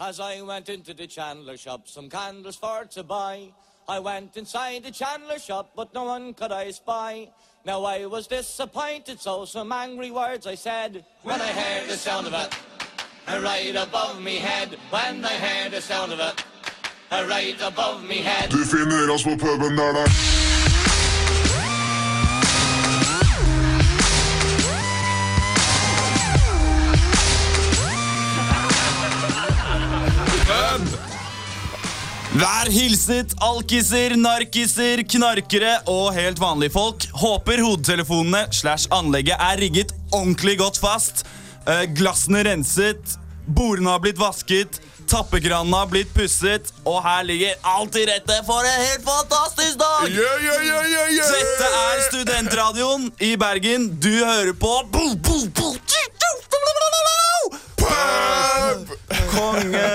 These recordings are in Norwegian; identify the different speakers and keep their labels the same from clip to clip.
Speaker 1: As I went into the chandler shop, some candles for to buy. I went inside the chandler shop, but no one could I spy. Now I was disappointed, so some angry words I said. When I heard the sound of it, uh, right above me head. When I heard the sound of it, uh, right above me head.
Speaker 2: Du finner oss på puben der det
Speaker 3: Vær hilset, alkiser, narkiser, knarkere og helt vanlige folk. Håper hodetelefonene slash anlegget er rigget ordentlig godt fast. Eh, Glassene renset, bordene har blitt vasket, tappekranene har blitt pusset, og her ligger alt til rette for en helt fantastisk dag!
Speaker 2: yeah, yeah, yeah, yeah, yeah.
Speaker 3: Dette er Studentradioen i Bergen. Du hører på Bo, bo, bo, tju, tju, tju, tju, tju, tju. Konge.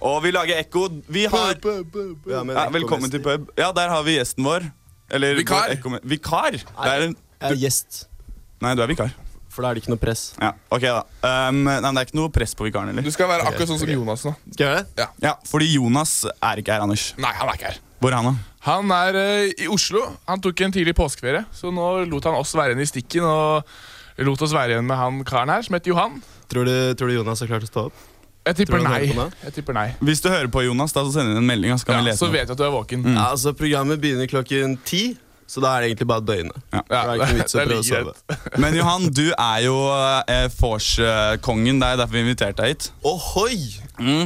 Speaker 3: Og vi lager ekko. Vi har
Speaker 4: Ja, men
Speaker 3: ja,
Speaker 4: jeg
Speaker 3: velkommen
Speaker 4: kommer-
Speaker 3: til pub. Ja, der har vi gjesten vår. Eller vår
Speaker 2: Vikar.
Speaker 3: ekkomen- Vikar? Det er en,
Speaker 4: Jeg er gjest,
Speaker 3: nei, du er vikar.
Speaker 4: for da er det ikke noe press.
Speaker 3: Ja, ok da. Um, nei, men det er ikke noe press på vikaren
Speaker 5: Du
Speaker 3: heller.
Speaker 5: skal være akkurat sånn som Jonas nå.
Speaker 4: Skal jeg gjøre det?
Speaker 3: Ja, fordi Jonas er ikke her, Anders.
Speaker 5: Nei, han er ikke her.
Speaker 3: Hvor er han, da?
Speaker 5: Han er eh, i Oslo. Han tok en tidlig påskeferie, så nå lot han oss være igjen i stikken. Og lot oss være igjen med han karen her, som heter Johan.
Speaker 4: Tror du, tror du Jonas har klart å stå opp?
Speaker 5: Jeg tipper
Speaker 4: Tror du han
Speaker 5: nei.
Speaker 4: hører på meg?
Speaker 5: Jeg tipper nei.
Speaker 3: Hvis du hører på Jonas, da, så send inn en melding. Så kan
Speaker 5: Ja,
Speaker 3: vi lese
Speaker 5: så
Speaker 3: den opp.
Speaker 5: vet jeg at du er våken.
Speaker 4: Ja, altså Programmet begynner klokken ti, så da er det egentlig bare å døgne.
Speaker 3: Ja.
Speaker 4: Det er ikke noe vits å
Speaker 5: det er
Speaker 4: prøve å
Speaker 5: like
Speaker 4: sove.
Speaker 5: greit.
Speaker 3: Men Johan, du er jo eh, vors-kongen. Det er derfor vi inviterte deg hit.
Speaker 4: Ohoi!
Speaker 5: Mm.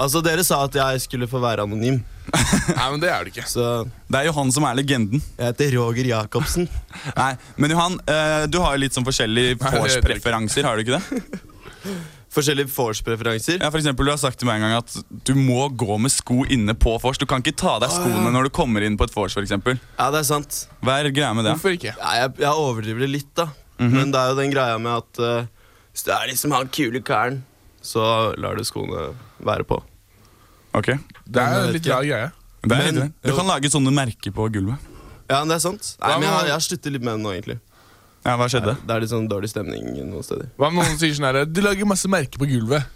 Speaker 4: Altså, dere sa at jeg skulle få være anonym,
Speaker 5: Nei, men det er du ikke.
Speaker 4: så
Speaker 3: Det er Johan som er legenden.
Speaker 4: jeg heter Roger Jacobsen.
Speaker 3: Nei, Men Johan, eh, du har jo litt sånn forskjellige
Speaker 5: Nei, det vet jeg ikke.
Speaker 3: vors-preferanser, har du ikke det?
Speaker 4: Forskjellige vors-preferanser.
Speaker 3: Ja, for eksempel, Du har sagt til meg en gang at du må gå med sko inne på vors. Du kan ikke ta av deg skoene når du kommer inn på et vors. for eksempel.
Speaker 4: Ja, det er sant.
Speaker 3: Hva er greia med det?
Speaker 5: Hvorfor ikke?
Speaker 4: Ja, jeg, jeg overdriver det litt, da. Men det er jo den greia med at eh, hvis du er liksom han kule karen, så lar du skoene være på.
Speaker 3: Ok,
Speaker 5: Det er
Speaker 4: jeg
Speaker 5: en
Speaker 4: vet
Speaker 5: litt
Speaker 4: ikke.
Speaker 5: rar greie.
Speaker 3: det er
Speaker 4: Men-
Speaker 3: litt- Du kan lage sånne merker på gulvet.
Speaker 4: Ja, men det er sant. Nei,
Speaker 5: Hva
Speaker 4: men jeg,
Speaker 5: med-
Speaker 4: har- jeg har sluttet litt med det nå, egentlig.
Speaker 3: Ja, Hva skjedde?
Speaker 4: Det er litt sånn dårlig stemning noen steder.
Speaker 5: Hva om noen sier sånn her Du lager masse merker på gulvet.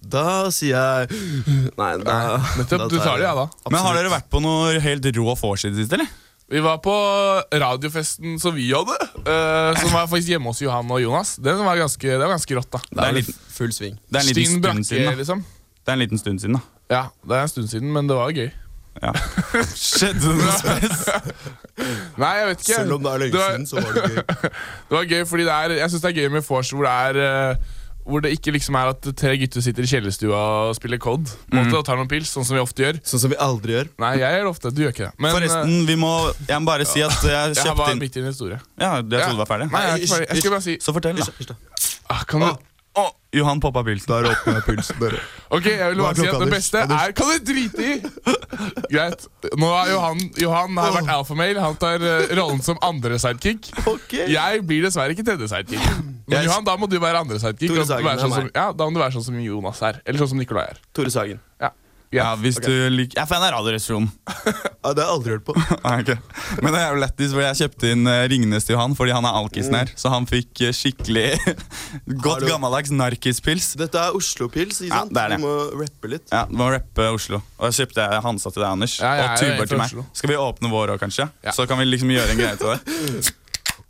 Speaker 4: Da sier jeg Nei, da
Speaker 5: Nettopp.
Speaker 4: da
Speaker 5: Du tar det, ja da.
Speaker 3: Men Har dere vært på noe helt rå vors i det siste? eller?
Speaker 5: Vi var på radiofesten som vi hadde, eh, som var faktisk hjemme hos Johan og Jonas. Den var ganske, det var ganske rått, da.
Speaker 4: Det er
Speaker 3: Det er
Speaker 4: litt full sving.
Speaker 3: Det er en liten stund
Speaker 5: Stinn Brakke,
Speaker 3: siden. da.
Speaker 5: liksom.
Speaker 3: Det er en liten stund siden da.
Speaker 5: Ja, det er en stund siden, men det var gøy.
Speaker 3: Ja. Skjedde det noe spes?
Speaker 5: Nei, jeg vet ikke. var-
Speaker 4: så var det gøy.
Speaker 5: Det var gøy, fordi det er, jeg synes det er gøy med Force hvor det er eh, hvor det ikke liksom er at tre gutter sitter i kjellerstua og spiller COD på en måte,
Speaker 4: Mm.
Speaker 5: og tar noen pils, sånn som vi ofte gjør.
Speaker 4: Sånn som vi aldri gjør.
Speaker 5: Nei, jeg gjør det ofte. Du gjør ikke det. Men, eh,
Speaker 3: Forresten, vi må, jeg må bare si at jeg
Speaker 5: jeg har
Speaker 3: kjøpte
Speaker 5: bare
Speaker 3: inn
Speaker 5: midt i en historie.
Speaker 3: Ja, Jeg trodde du var ferdig.
Speaker 5: Nei, jeg er ikke ferdig. Jeg skulle bare si
Speaker 3: Så fortell, da.
Speaker 4: Hysj, da.
Speaker 5: ah, kan du,
Speaker 3: Å, Johan poppa pilsen.
Speaker 4: Bare åpner jeg pulsen, dere.
Speaker 5: Ok, jeg vil bare
Speaker 4: Hva er
Speaker 5: si at det
Speaker 4: klokka, Anders?
Speaker 5: beste
Speaker 4: Anders?
Speaker 5: er Kan du drite i? Greit. Nå er Johan Johan har vært alfamale. Han tar eh, rollen som andre sidekick.
Speaker 4: Ok.
Speaker 5: Jeg blir dessverre ikke tredje sidekick. Men
Speaker 4: Jeg-
Speaker 5: Johan, da må du være andre sidekick.
Speaker 4: Tore
Speaker 5: og
Speaker 4: Sagen,
Speaker 5: være
Speaker 4: det er
Speaker 5: sånn som,
Speaker 4: meg.
Speaker 5: ja, da må du være sånn som Jonas er. Eller sånn som Nicolai er.
Speaker 4: Tore Sagen.
Speaker 5: Ja.
Speaker 3: Ja,
Speaker 5: Ja.
Speaker 3: hvis du liker Jeg er fan av Radioresepsjonen.
Speaker 4: Ja, det har jeg aldri hørt på.
Speaker 3: Ah, ok. Men det er jo lættis, for jeg kjøpte inn eh, Ringnes til Johan fordi han er alkisen her. Så han fikk eh, skikkelig godt
Speaker 4: Hallo.
Speaker 3: gammeldags narkispils.
Speaker 4: Dette er Oslo-pils, ikke
Speaker 3: Ja,
Speaker 4: sant?
Speaker 3: det er det.
Speaker 4: Vi må rappe litt.
Speaker 3: Ja, det var rappe Oslo. Og jeg kjøpte Hansa til deg, Anders.
Speaker 5: Ja, jeg
Speaker 3: og
Speaker 5: er
Speaker 3: tuber
Speaker 5: helt
Speaker 3: til
Speaker 5: fra
Speaker 3: meg.
Speaker 5: Oslo.
Speaker 3: Skal vi åpne vår òg, kanskje?
Speaker 5: Ja.
Speaker 3: Så kan vi liksom gjøre en greie til det.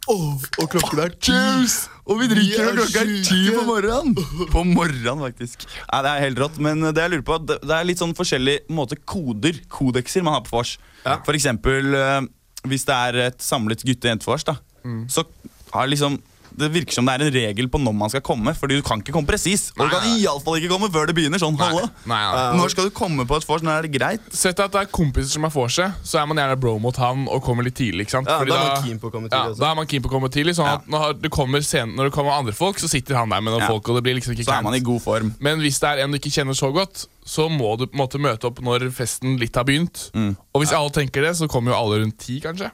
Speaker 4: Åh, og klokken er
Speaker 3: Cheers! Og vi drikker,
Speaker 4: Vi er
Speaker 3: og klokka er ti
Speaker 4: syke.
Speaker 3: på morgenen! På morgenen, faktisk. Nei, Det er helt rått. Men det jeg lurer på, det det er litt sånn forskjellige på en måte, koder, kodekser, man har på vors. For eksempel eh, hvis det er et samlet gutte-jente-vors, da,
Speaker 5: Mm.
Speaker 3: så har liksom det virker som det er en regel på når man skal komme. Fordi du kan ikke komme presis. Og du kan
Speaker 5: Nei.
Speaker 3: iallfall ikke komme før det begynner. sånn, hallo.
Speaker 5: Nei, nei, nei.
Speaker 3: Når skal du komme på et vors? Når er det greit?
Speaker 5: Sett at det er kompiser som er for seg, så er man gjerne bro mot han og kommer litt tidlig. ikke sant?
Speaker 4: Ja, da er man keen på å komme tidlig
Speaker 5: Ja,
Speaker 4: også.
Speaker 5: da er man keen på å komme tidlig, sånn at når, det kommer sen, når det kommer andre folk, så sitter han der med noen
Speaker 3: Ja.
Speaker 5: folk, og det blir liksom ikke
Speaker 3: Så er
Speaker 5: camp.
Speaker 3: man i god form.
Speaker 5: Men hvis det er en du ikke kjenner så godt, så må du på en måte møte opp når festen litt har begynt.
Speaker 3: Mm.
Speaker 5: Og hvis alle tenker det, så kommer jo alle rundt ti, kanskje.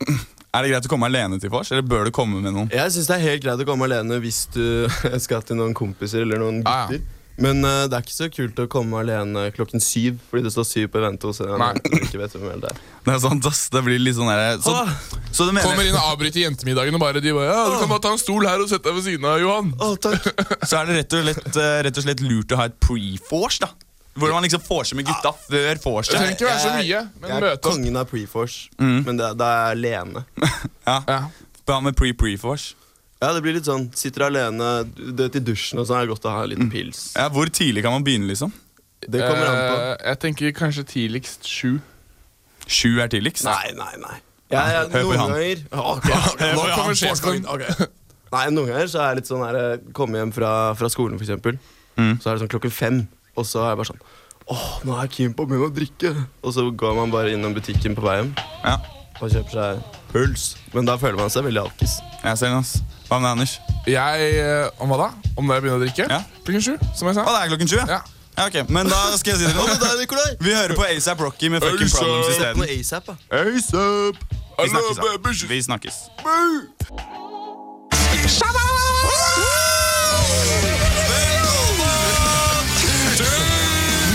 Speaker 3: Er det greit å komme alene til vors, eller bør du komme med noen?
Speaker 4: Jeg syns det er helt greit å komme alene hvis du skal til noen kompiser eller noen
Speaker 5: Ja, ja.
Speaker 4: gutter. Men eh, det er ikke så kult å komme alene klokken syv fordi det står syv på eventet hos en
Speaker 5: Nei.
Speaker 4: jente du ikke vet hvem helt er.
Speaker 3: Det er sant, ass. Det blir litt sånn der, så,
Speaker 4: Ah.
Speaker 3: så du
Speaker 5: Kommer
Speaker 3: mener
Speaker 5: inn og avbryter jentemiddagen og bare de bare, ja, du kan bare ta en stol her og sette deg ved siden av Johan.
Speaker 4: Å, takk.
Speaker 3: Så er det rett og slett, eh, rett og slett lurt å ha et pre-vors, da? Hvor man liksom får seg med gutta før får
Speaker 5: Det trenger
Speaker 3: seg.
Speaker 5: ikke være så mye, men
Speaker 4: jeg er
Speaker 5: møte opp.
Speaker 4: kongen av pre-force, men det, det er alene.
Speaker 3: Ja,
Speaker 5: Ja.
Speaker 3: Bra med pre-pre-fors.
Speaker 4: Ja, det blir litt sånn, Sitter alene det til dusjen, og så er det godt å ha en liten pils.
Speaker 3: Ja, hvor tidlig kan man begynne, liksom?
Speaker 4: Det kommer an på.
Speaker 5: Eh, jeg tenker kanskje tidligst sju.
Speaker 3: Sju er tidligst.
Speaker 4: Nei, nei, nei. Jeg, jeg,
Speaker 3: Hør på
Speaker 4: noen
Speaker 3: han.
Speaker 4: ganger Ok, ok.
Speaker 5: Nå
Speaker 3: ja,
Speaker 5: kommer sjefen.
Speaker 4: Nei, noen ganger så er jeg litt sånn her eh, Komme hjem fra, fra skolen, for eksempel.
Speaker 3: Mm.
Speaker 4: Så er det sånn klokken fem, og så er jeg bare sånn Åh, nå er jeg keen på å begynne å drikke. Og så går man bare innom butikken på vei hjem
Speaker 3: Ja,
Speaker 4: og kjøper seg puls. Men da føler man seg veldig alkis.
Speaker 3: jeg ser den, ass. Hva med deg, Anders?
Speaker 5: Jeg eh, Om hva da? Om når jeg begynner å drikke?
Speaker 3: Ja.
Speaker 5: Klokken sju, som jeg
Speaker 3: Å,
Speaker 5: sa.
Speaker 3: det er klokken sju?
Speaker 5: Ja.
Speaker 3: ja, ok. Men da skal jeg si
Speaker 4: Hva med
Speaker 3: det.
Speaker 4: deg, Nikolai?
Speaker 3: Vi hører på ASAP Rocky med fucking
Speaker 5: ASAP.
Speaker 3: problems
Speaker 4: Sett
Speaker 3: isteden.
Speaker 4: noe ASAP, da.
Speaker 3: Eh, ASAP! Vi snakkes,
Speaker 5: Hallo,
Speaker 3: da.
Speaker 5: baby.
Speaker 3: Vi snakkes.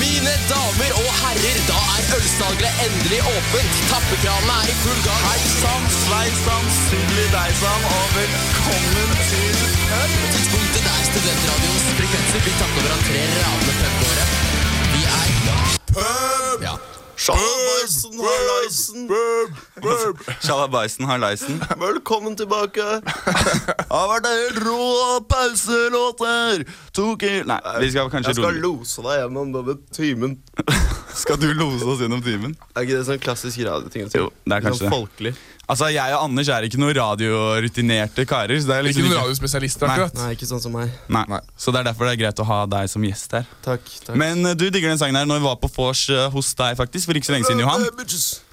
Speaker 6: Mine damer og herrer, da er ølsalget endelig åpent. Tappekranene er i full gang. Hei sann, sveisann, sugli deg sann, og velkommen til øl. Tidspunktet der studentradioens frekvenser blir tatt over av tre radende pubåre. Vi er Pub! Ja.
Speaker 4: Sjabaisen, hallaisen.
Speaker 3: Shalabaisen har leisen.
Speaker 4: Velkommen tilbake. Har vært en helt rå pauselåter.
Speaker 3: Tok i Nei, vi skal kanskje
Speaker 4: Jeg skal lose deg gjennom denne timen.
Speaker 3: Skal du lose oss gjennom timen?
Speaker 4: Er ikke det sånn klassisk radioting? å si?
Speaker 3: Jo, det er kanskje
Speaker 4: sånn
Speaker 3: det.
Speaker 4: folkelig.
Speaker 3: Altså, Jeg og Anders er ikke noen radiorutinerte karer. Så det er
Speaker 5: Ikke
Speaker 3: liksom
Speaker 5: noen radiospesialist,
Speaker 3: Nei.
Speaker 5: akkurat.
Speaker 4: Nei, ikke sånn som meg.
Speaker 3: Nei. Så det er derfor det er greit å ha deg som gjest her.
Speaker 4: Takk. takk.
Speaker 3: Men eh, du digger den sangen her når vi var på vors eh, hos deg faktisk for ikke så lenge siden,
Speaker 4: Eh,
Speaker 3: Johan.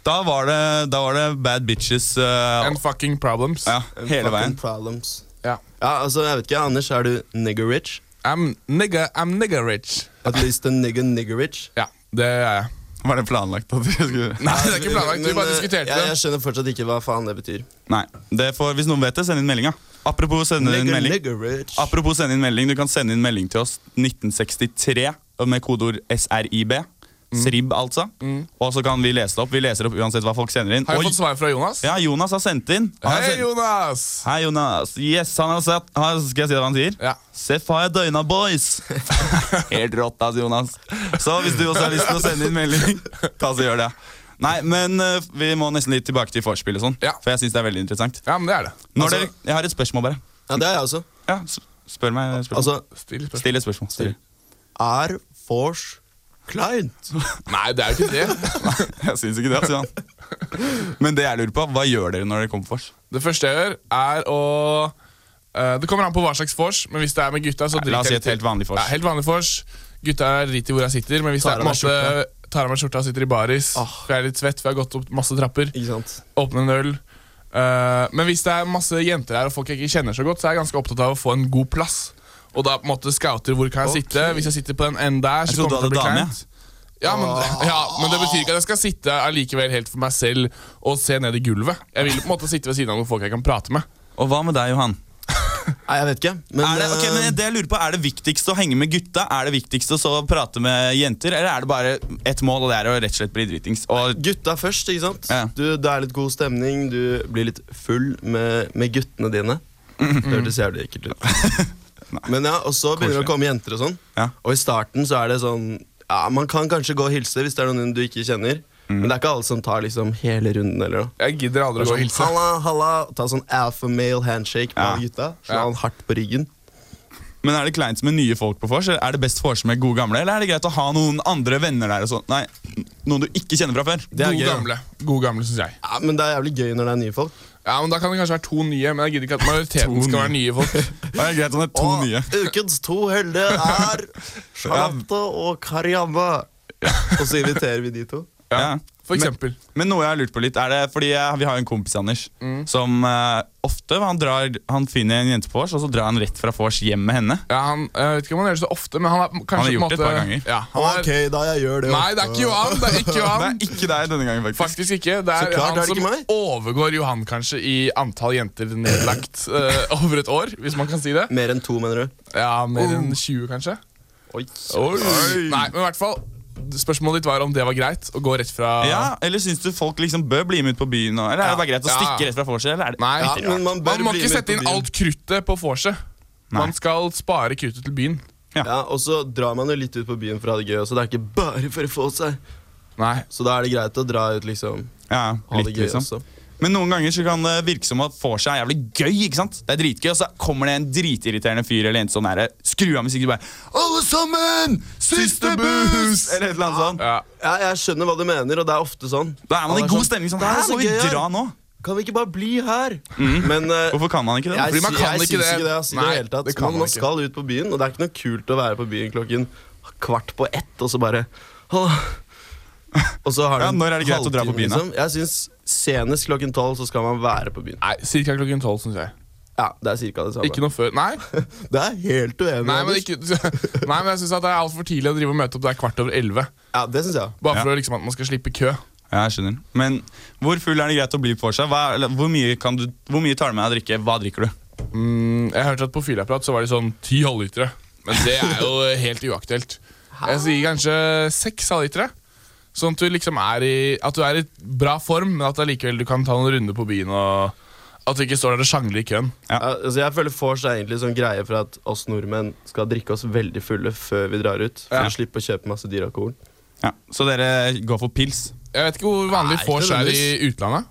Speaker 3: Da var det, da var det Bad Bitches eh,
Speaker 5: And fucking problems.
Speaker 3: ja, hele veien.
Speaker 4: Fucking Problems.
Speaker 5: Ja.
Speaker 4: Ja, altså, jeg vet ikke, Anders, er du nigger rich?
Speaker 5: I'm nigga, I'm nigga rich.
Speaker 4: At least a nigger nigger rich?
Speaker 5: Ja, det er jeg.
Speaker 3: Var det planlagt at vi skulle
Speaker 5: Nei, det er ikke planlagt. Vi
Speaker 4: Men,
Speaker 5: bare
Speaker 4: eh,
Speaker 5: diskuterte
Speaker 4: jeg, jeg
Speaker 5: det.
Speaker 4: skjønner fortsatt ikke hva faen det betyr.
Speaker 3: Nei. Det får, hvis noen vet det, send inn meldinga. Apropos sende inn
Speaker 4: Nigger
Speaker 3: melding.
Speaker 4: nigger rich.
Speaker 3: Apropos sende inn melding, du kan sende inn melding til oss 1963 og med kodeord SRIB.
Speaker 5: Mm.
Speaker 3: SRIB, altså. Og så kan vi lese det opp. Vi leser opp uansett hva folk sender inn.
Speaker 5: Har jeg
Speaker 3: Oi.
Speaker 5: fått svar fra Jonas?
Speaker 3: Ja, Jonas har sendt inn. Han har
Speaker 5: Hei,
Speaker 3: sendt-
Speaker 5: Jonas!
Speaker 3: Hei, Jonas. Yes, han har sett han, Skal jeg si hva han sier?
Speaker 5: Ja.
Speaker 3: Seff har jeg døgna, boys! Helt rått, ass, Jonas. Så hvis du også har lyst til å sende inn melding, ta så gjør det. Nei, men eh, vi må nesten litt tilbake til vorspiel og sånn,
Speaker 5: Ja.
Speaker 3: for jeg syns det er veldig interessant.
Speaker 5: Ja, men det er det.
Speaker 3: Når
Speaker 4: Altså-
Speaker 3: dere, jeg har et spørsmål, bare.
Speaker 4: Ja, det er jeg også.
Speaker 3: Ja, s- spør meg et spørsmål.
Speaker 4: Altså,
Speaker 5: Still spørsmål.
Speaker 3: Still et spørsmål. Still.
Speaker 4: er vors kleint?
Speaker 5: Nei, det er jo ikke det.
Speaker 3: Jeg syns ikke det, sier han. Men det jeg lurer på, hva gjør dere når dere kommer på vors?
Speaker 5: Det første jeg gjør, er å eh, Det kommer an på hva slags vors, men hvis det er med gutta, så
Speaker 3: La oss si
Speaker 5: driter jeg
Speaker 3: et helt
Speaker 5: litt i-
Speaker 3: vanlig vors.
Speaker 5: Ja, helt vanlig vors. Gutta driter i hvor jeg sitter, men hvis
Speaker 4: Tar
Speaker 5: jeg
Speaker 4: av
Speaker 5: på en
Speaker 4: meg
Speaker 5: måte tar av meg skjorta og sitter i baris,
Speaker 4: Ah.
Speaker 5: for jeg er litt svett, for jeg har gått opp masse trapper,
Speaker 4: Ikke sant?
Speaker 5: åpner en øl Eh, Men hvis det er masse jenter her og folk jeg ikke kjenner så godt, så er jeg ganske opptatt av å få en god plass. Og da på en måte scouter hvor kan jeg sitte. Hvis jeg sitter på den enden der,
Speaker 3: Jeg
Speaker 5: så
Speaker 3: trodde
Speaker 5: kommer det
Speaker 3: du
Speaker 5: til å bli
Speaker 3: hadde dame,
Speaker 5: kleint. Ja men, ja, men det betyr ikke at jeg skal sitte allikevel helt for meg selv og se ned i gulvet. Jeg vil på en måte sitte ved siden av noen folk jeg kan prate med.
Speaker 3: Og hva med deg, Johan?
Speaker 4: Nei, jeg vet ikke. Men,
Speaker 3: Er det, ok,
Speaker 4: eh,
Speaker 3: men det jeg lurer på, er det viktigst å henge med gutta? Er det viktigst å så prate med jenter? Eller er det bare ett mål, og det er å rett og slett bli dritings? Og
Speaker 4: Gutta først, ikke sant?
Speaker 3: Ja.
Speaker 4: Du, det er litt god stemning, du blir litt full med, med guttene dine. Det hørtes jævlig ekkelt ut. Men ja, og så begynner det å komme jenter og sånn.
Speaker 3: Ja.
Speaker 4: Og i starten så er det sånn ja, Man kan kanskje gå og hilse hvis det er noen du ikke kjenner.
Speaker 3: Mm.
Speaker 4: Men det er ikke alle som tar liksom hele runden. eller noe.
Speaker 5: Jeg gidder aldri å gå og
Speaker 4: Sånn,
Speaker 5: hilse.
Speaker 4: halla, halla, Ta sånn alpha male handshake med
Speaker 3: Ja.
Speaker 4: alle gutta. Slå
Speaker 5: Ja.
Speaker 4: han hardt på ryggen.
Speaker 3: men er det kleint med nye folk på vors? eller Er det best vors med gode gamle? Eller er det greit å ha noen andre venner der? og sånn? Nei, noen du ikke kjenner fra før?
Speaker 4: Det er
Speaker 5: God
Speaker 4: gøy, da.
Speaker 5: gamle, God gamle syns jeg.
Speaker 4: Ja, Men det er jævlig gøy når det er nye folk.
Speaker 5: Ja, men Da kan det kanskje være to nye, men jeg gidder ikke at majoriteten skal være nye folk.
Speaker 3: Det er greit om det er to
Speaker 4: Og
Speaker 3: nye.
Speaker 4: ukens to heldige er Charlotte og Karianne. Og så inviterer vi de to.
Speaker 3: Ja.
Speaker 5: For eksempel.
Speaker 3: Men noe jeg har lurt på litt, er det fordi jeg, vi har jo en kompis, Anders, som eh, ofte han, drar, han finner en jente på vors, og så drar han rett fra vors hjem med henne.
Speaker 5: Ja, han, eh, jeg vet ikke om han gjør det så ofte, men han er kanskje
Speaker 3: Han har gjort
Speaker 5: på en
Speaker 3: det et
Speaker 5: måte,
Speaker 3: par ganger.
Speaker 5: Ja, han er,
Speaker 4: da jeg gjør det
Speaker 5: Nei, det er ikke Johan! Det er ikke
Speaker 3: Det
Speaker 5: Johan.
Speaker 3: er ikke deg denne gangen, faktisk.
Speaker 5: Faktisk ikke. Det
Speaker 4: Så
Speaker 5: er
Speaker 4: klart er
Speaker 5: han
Speaker 4: det
Speaker 5: som
Speaker 4: ikke meg.
Speaker 5: overgår Johan kanskje i antall jenter nedlagt eh, over et år, hvis man kan si det.
Speaker 4: Mer enn to, mener du?
Speaker 5: Ja, Mer enn 20, kanskje.
Speaker 4: Oh. Oi.
Speaker 5: Nei, men i hvert fall Spørsmålet ditt var om det var greit å gå rett fra
Speaker 3: Ja, Eller syns du folk liksom bør bli med ut på byen? Og, eller er det bare greit å
Speaker 5: Ja.
Speaker 3: stikke rett fra vorset? eller er det-
Speaker 5: Nei,
Speaker 4: Ja, men man bør
Speaker 5: må
Speaker 4: bli
Speaker 5: ikke
Speaker 4: med
Speaker 5: sette
Speaker 4: på
Speaker 5: inn
Speaker 4: byen.
Speaker 5: alt kruttet på vorset. Man skal spare kruttet til byen.
Speaker 3: Ja.
Speaker 4: Ja, og så drar man jo litt ut på byen for å ha det gøy også. Det er ikke bare for å få seg.
Speaker 5: Nei.
Speaker 4: Så da er det greit å dra ut, liksom.
Speaker 3: Ja,
Speaker 4: Ha
Speaker 3: litt,
Speaker 4: det gøy
Speaker 3: liksom.
Speaker 4: også.
Speaker 3: Men noen ganger så kan det virke som at får seg er jævlig gøy. ikke sant? Det er dritgøy, Og så kommer det en dritirriterende fyr eller en som er skru av musikken og bare Alle sammen! Siste buss! Eller et eller annet sånt.
Speaker 5: Ja.
Speaker 4: Ja, jeg skjønner hva du mener, og det er ofte sånn.
Speaker 3: Da er man i
Speaker 4: Alle
Speaker 3: god
Speaker 4: sånn,
Speaker 3: stemning. sånn,
Speaker 4: «Det er
Speaker 3: Her
Speaker 4: så
Speaker 3: må vi
Speaker 4: gøy her.
Speaker 3: dra nå. Mm.
Speaker 4: Kan vi ikke bare bli her? Men eh,
Speaker 3: Hvorfor kan man ikke det?
Speaker 4: jeg,
Speaker 5: Fordi man
Speaker 4: sy-
Speaker 5: kan ikke
Speaker 4: jeg syns
Speaker 5: det.
Speaker 4: ikke det. Altså, i
Speaker 5: Nei,
Speaker 4: det hele tatt.
Speaker 5: det kan
Speaker 4: man,
Speaker 5: man
Speaker 4: man
Speaker 5: ikke.
Speaker 4: skal ut på byen, og det er ikke noe kult å være på byen klokken kvart på ett, og så bare «Åh». Og så har du
Speaker 3: Ja,
Speaker 4: en
Speaker 3: når er det greit å dra på
Speaker 4: halvtime, liksom.
Speaker 3: byen, da?
Speaker 4: Jeg syns senest klokken tolv så skal man være på byen.
Speaker 5: Nei, Cirka klokken tolv, syns jeg.
Speaker 4: Ja, Det er cirka det samme.
Speaker 5: Ikke noe før. Nei,
Speaker 4: Det er helt uenig.
Speaker 5: nei men,
Speaker 4: Anders.
Speaker 5: ikke, nei, men jeg syns det er altfor tidlig å drive og møte opp der kvart over elleve.
Speaker 4: Ja, det syns jeg.
Speaker 5: Bare
Speaker 3: Ja.
Speaker 5: for å liksom at man skal slippe kø.
Speaker 3: Ja, jeg skjønner. Men hvor full er det greit å bli på seg? Hva er, eller, hvor, mye kan du, hvor mye tar du med deg å drikke? Hva drikker du?
Speaker 5: Mm, jeg hørte at på fylleapparat så var de sånn ti halvlitere. Men det er jo helt uaktuelt. Jeg sier kanskje seks halvlitere. Sånn at du liksom er i At du er i bra form, men at allikevel du kan ta noen runder på byen. og At du ikke står der og sjangler i køen.
Speaker 3: Ja.
Speaker 4: Ja, altså jeg føler vors er egentlig sånn greie for at oss nordmenn skal drikke oss veldig fulle før vi drar ut. For
Speaker 5: Ja.
Speaker 4: å slippe å kjøpe masse dyr alkohol.
Speaker 3: Ja. Så dere går for pils?
Speaker 5: Jeg vet ikke hvor vanlig
Speaker 4: Nei,
Speaker 5: vors
Speaker 4: ikke
Speaker 5: er i
Speaker 4: nødvendigvis.
Speaker 5: utlandet.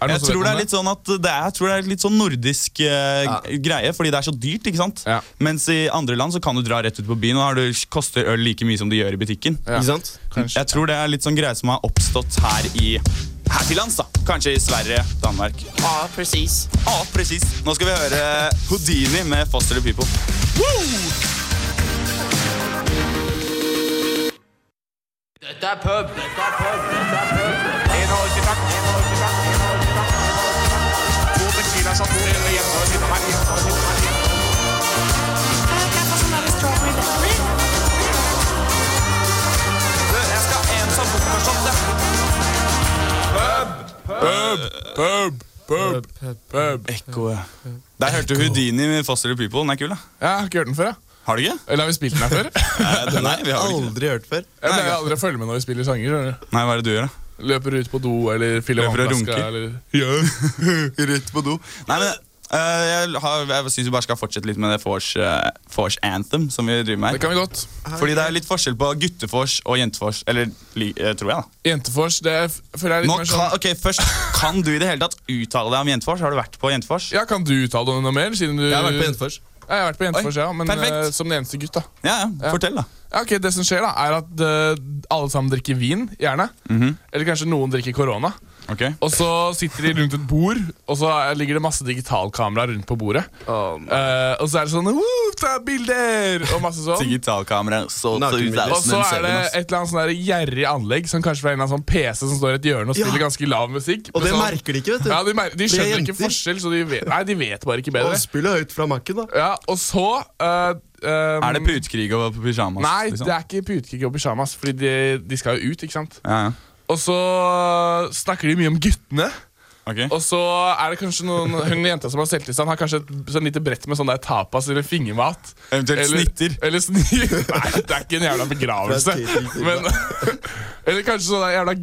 Speaker 5: Er
Speaker 3: Jeg
Speaker 5: noen som
Speaker 3: tror
Speaker 5: vet
Speaker 3: det
Speaker 5: om
Speaker 3: er litt sånn at det er, jeg tror det er litt sånn nordisk eh, greie, fordi det er så dyrt. ikke sant?
Speaker 5: Ja.
Speaker 3: Mens i andre land så kan du dra rett ut på byen, og da har du, koster øl like mye som det gjør i butikken.
Speaker 5: Ja.
Speaker 4: Ikke sant?
Speaker 5: Kanskje.
Speaker 3: Jeg tror det er litt sånn greie som har oppstått her i her til lands, da. Kanskje i Sverige, Danmark. Ja, presis. Ja, presis. Nå skal vi høre Houdini med Foster the People.
Speaker 5: Pub, pub, pub.
Speaker 3: Ekko. Der hørte du Houdini med Foster the People. Den er kul, da.
Speaker 5: Jeg har ikke hørt den før. jeg.
Speaker 3: Har du ikke?
Speaker 5: Eller har vi spilt den her før?
Speaker 3: Nei, nei, vi har vel ikke.
Speaker 4: Aldri hørt før.
Speaker 5: Jeg pleier aldri å følge med når vi spiller sanger. skjønner du.
Speaker 3: Nei, hva er det du gjør, da?
Speaker 5: Løper ut på do eller fyller
Speaker 3: Løper og
Speaker 5: vannflaska.
Speaker 3: runker.
Speaker 5: Eller...
Speaker 3: Rett på do. Nei, men eh, jeg, har- jeg syns vi bare skal fortsette litt med det vors eh, vors anthem som vi driver
Speaker 5: Det
Speaker 3: med her.
Speaker 5: kan vi godt.
Speaker 3: Fordi det er litt forskjell på guttefors og jentefors. Eller li- eh, tror jeg, da.
Speaker 5: Jentefors, det er, føler jeg er litt
Speaker 3: Nå
Speaker 5: mer sånn
Speaker 3: kan, ok, Først, kan du i det hele tatt uttale deg om jentefors? Har du vært på jentefors?
Speaker 5: Ja, Kan du uttale deg noe mer? Siden du...
Speaker 4: Jeg har vært på Jentefors.
Speaker 5: Ja, jeg har vært på Jentefors,
Speaker 3: Oi,
Speaker 5: ja, men
Speaker 3: perfekt.
Speaker 5: eh, som den eneste gutt. da
Speaker 3: Ja,
Speaker 5: Ja.
Speaker 3: ja. Fortell, da.
Speaker 5: ja, ok, Det som skjer, da er at eh, alle sammen drikker vin, gjerne. Eller kanskje noen drikker korona.
Speaker 3: Ok
Speaker 5: Og så sitter de rundt et bord, og så ligger det masse digitalkamera rundt på bordet.
Speaker 4: Åh,
Speaker 5: Eh, og så er det sånn «Woo, Ta bilder! Og masse sånn.
Speaker 3: Digitalkamera. Så
Speaker 4: Nakenbilder.
Speaker 5: Og så er det et eller annet sånn der gjerrig anlegg Som kanskje fra en eller annen sånn PC som står i et hjørne og spiller
Speaker 4: Ja.
Speaker 5: ganske lav musikk.
Speaker 4: Og
Speaker 5: Men
Speaker 4: det
Speaker 5: sånn,
Speaker 4: merker de ikke, vet du.
Speaker 5: Ja, de, mer de skjønner ikke
Speaker 4: jenter.
Speaker 5: forskjell, så de vet, nei, de vet bare ikke
Speaker 4: Og
Speaker 5: bedre.
Speaker 4: spiller høyt fra Mac-en, da.
Speaker 5: Ja, og så eh, eh,
Speaker 3: Er det putekrig og pysjamas?
Speaker 5: Nei,
Speaker 3: liksom?
Speaker 5: det er ikke putekrig og pysjamas, Fordi de, de skal jo ut, ikke sant?
Speaker 3: Ja, ja.
Speaker 5: Og så eh, snakker de mye om guttene.
Speaker 3: Ok.
Speaker 5: Og så er det kanskje noen Hun jenta som har selvtilstand, har kanskje et sånn lite brett med sånn der tapas eller fingermat.
Speaker 3: Eventuelt snitter.
Speaker 5: Eller snitter. Nei, det er ikke en jævla begravelse.
Speaker 4: Det er tidlig,
Speaker 5: Men, eller kanskje sånn der jævla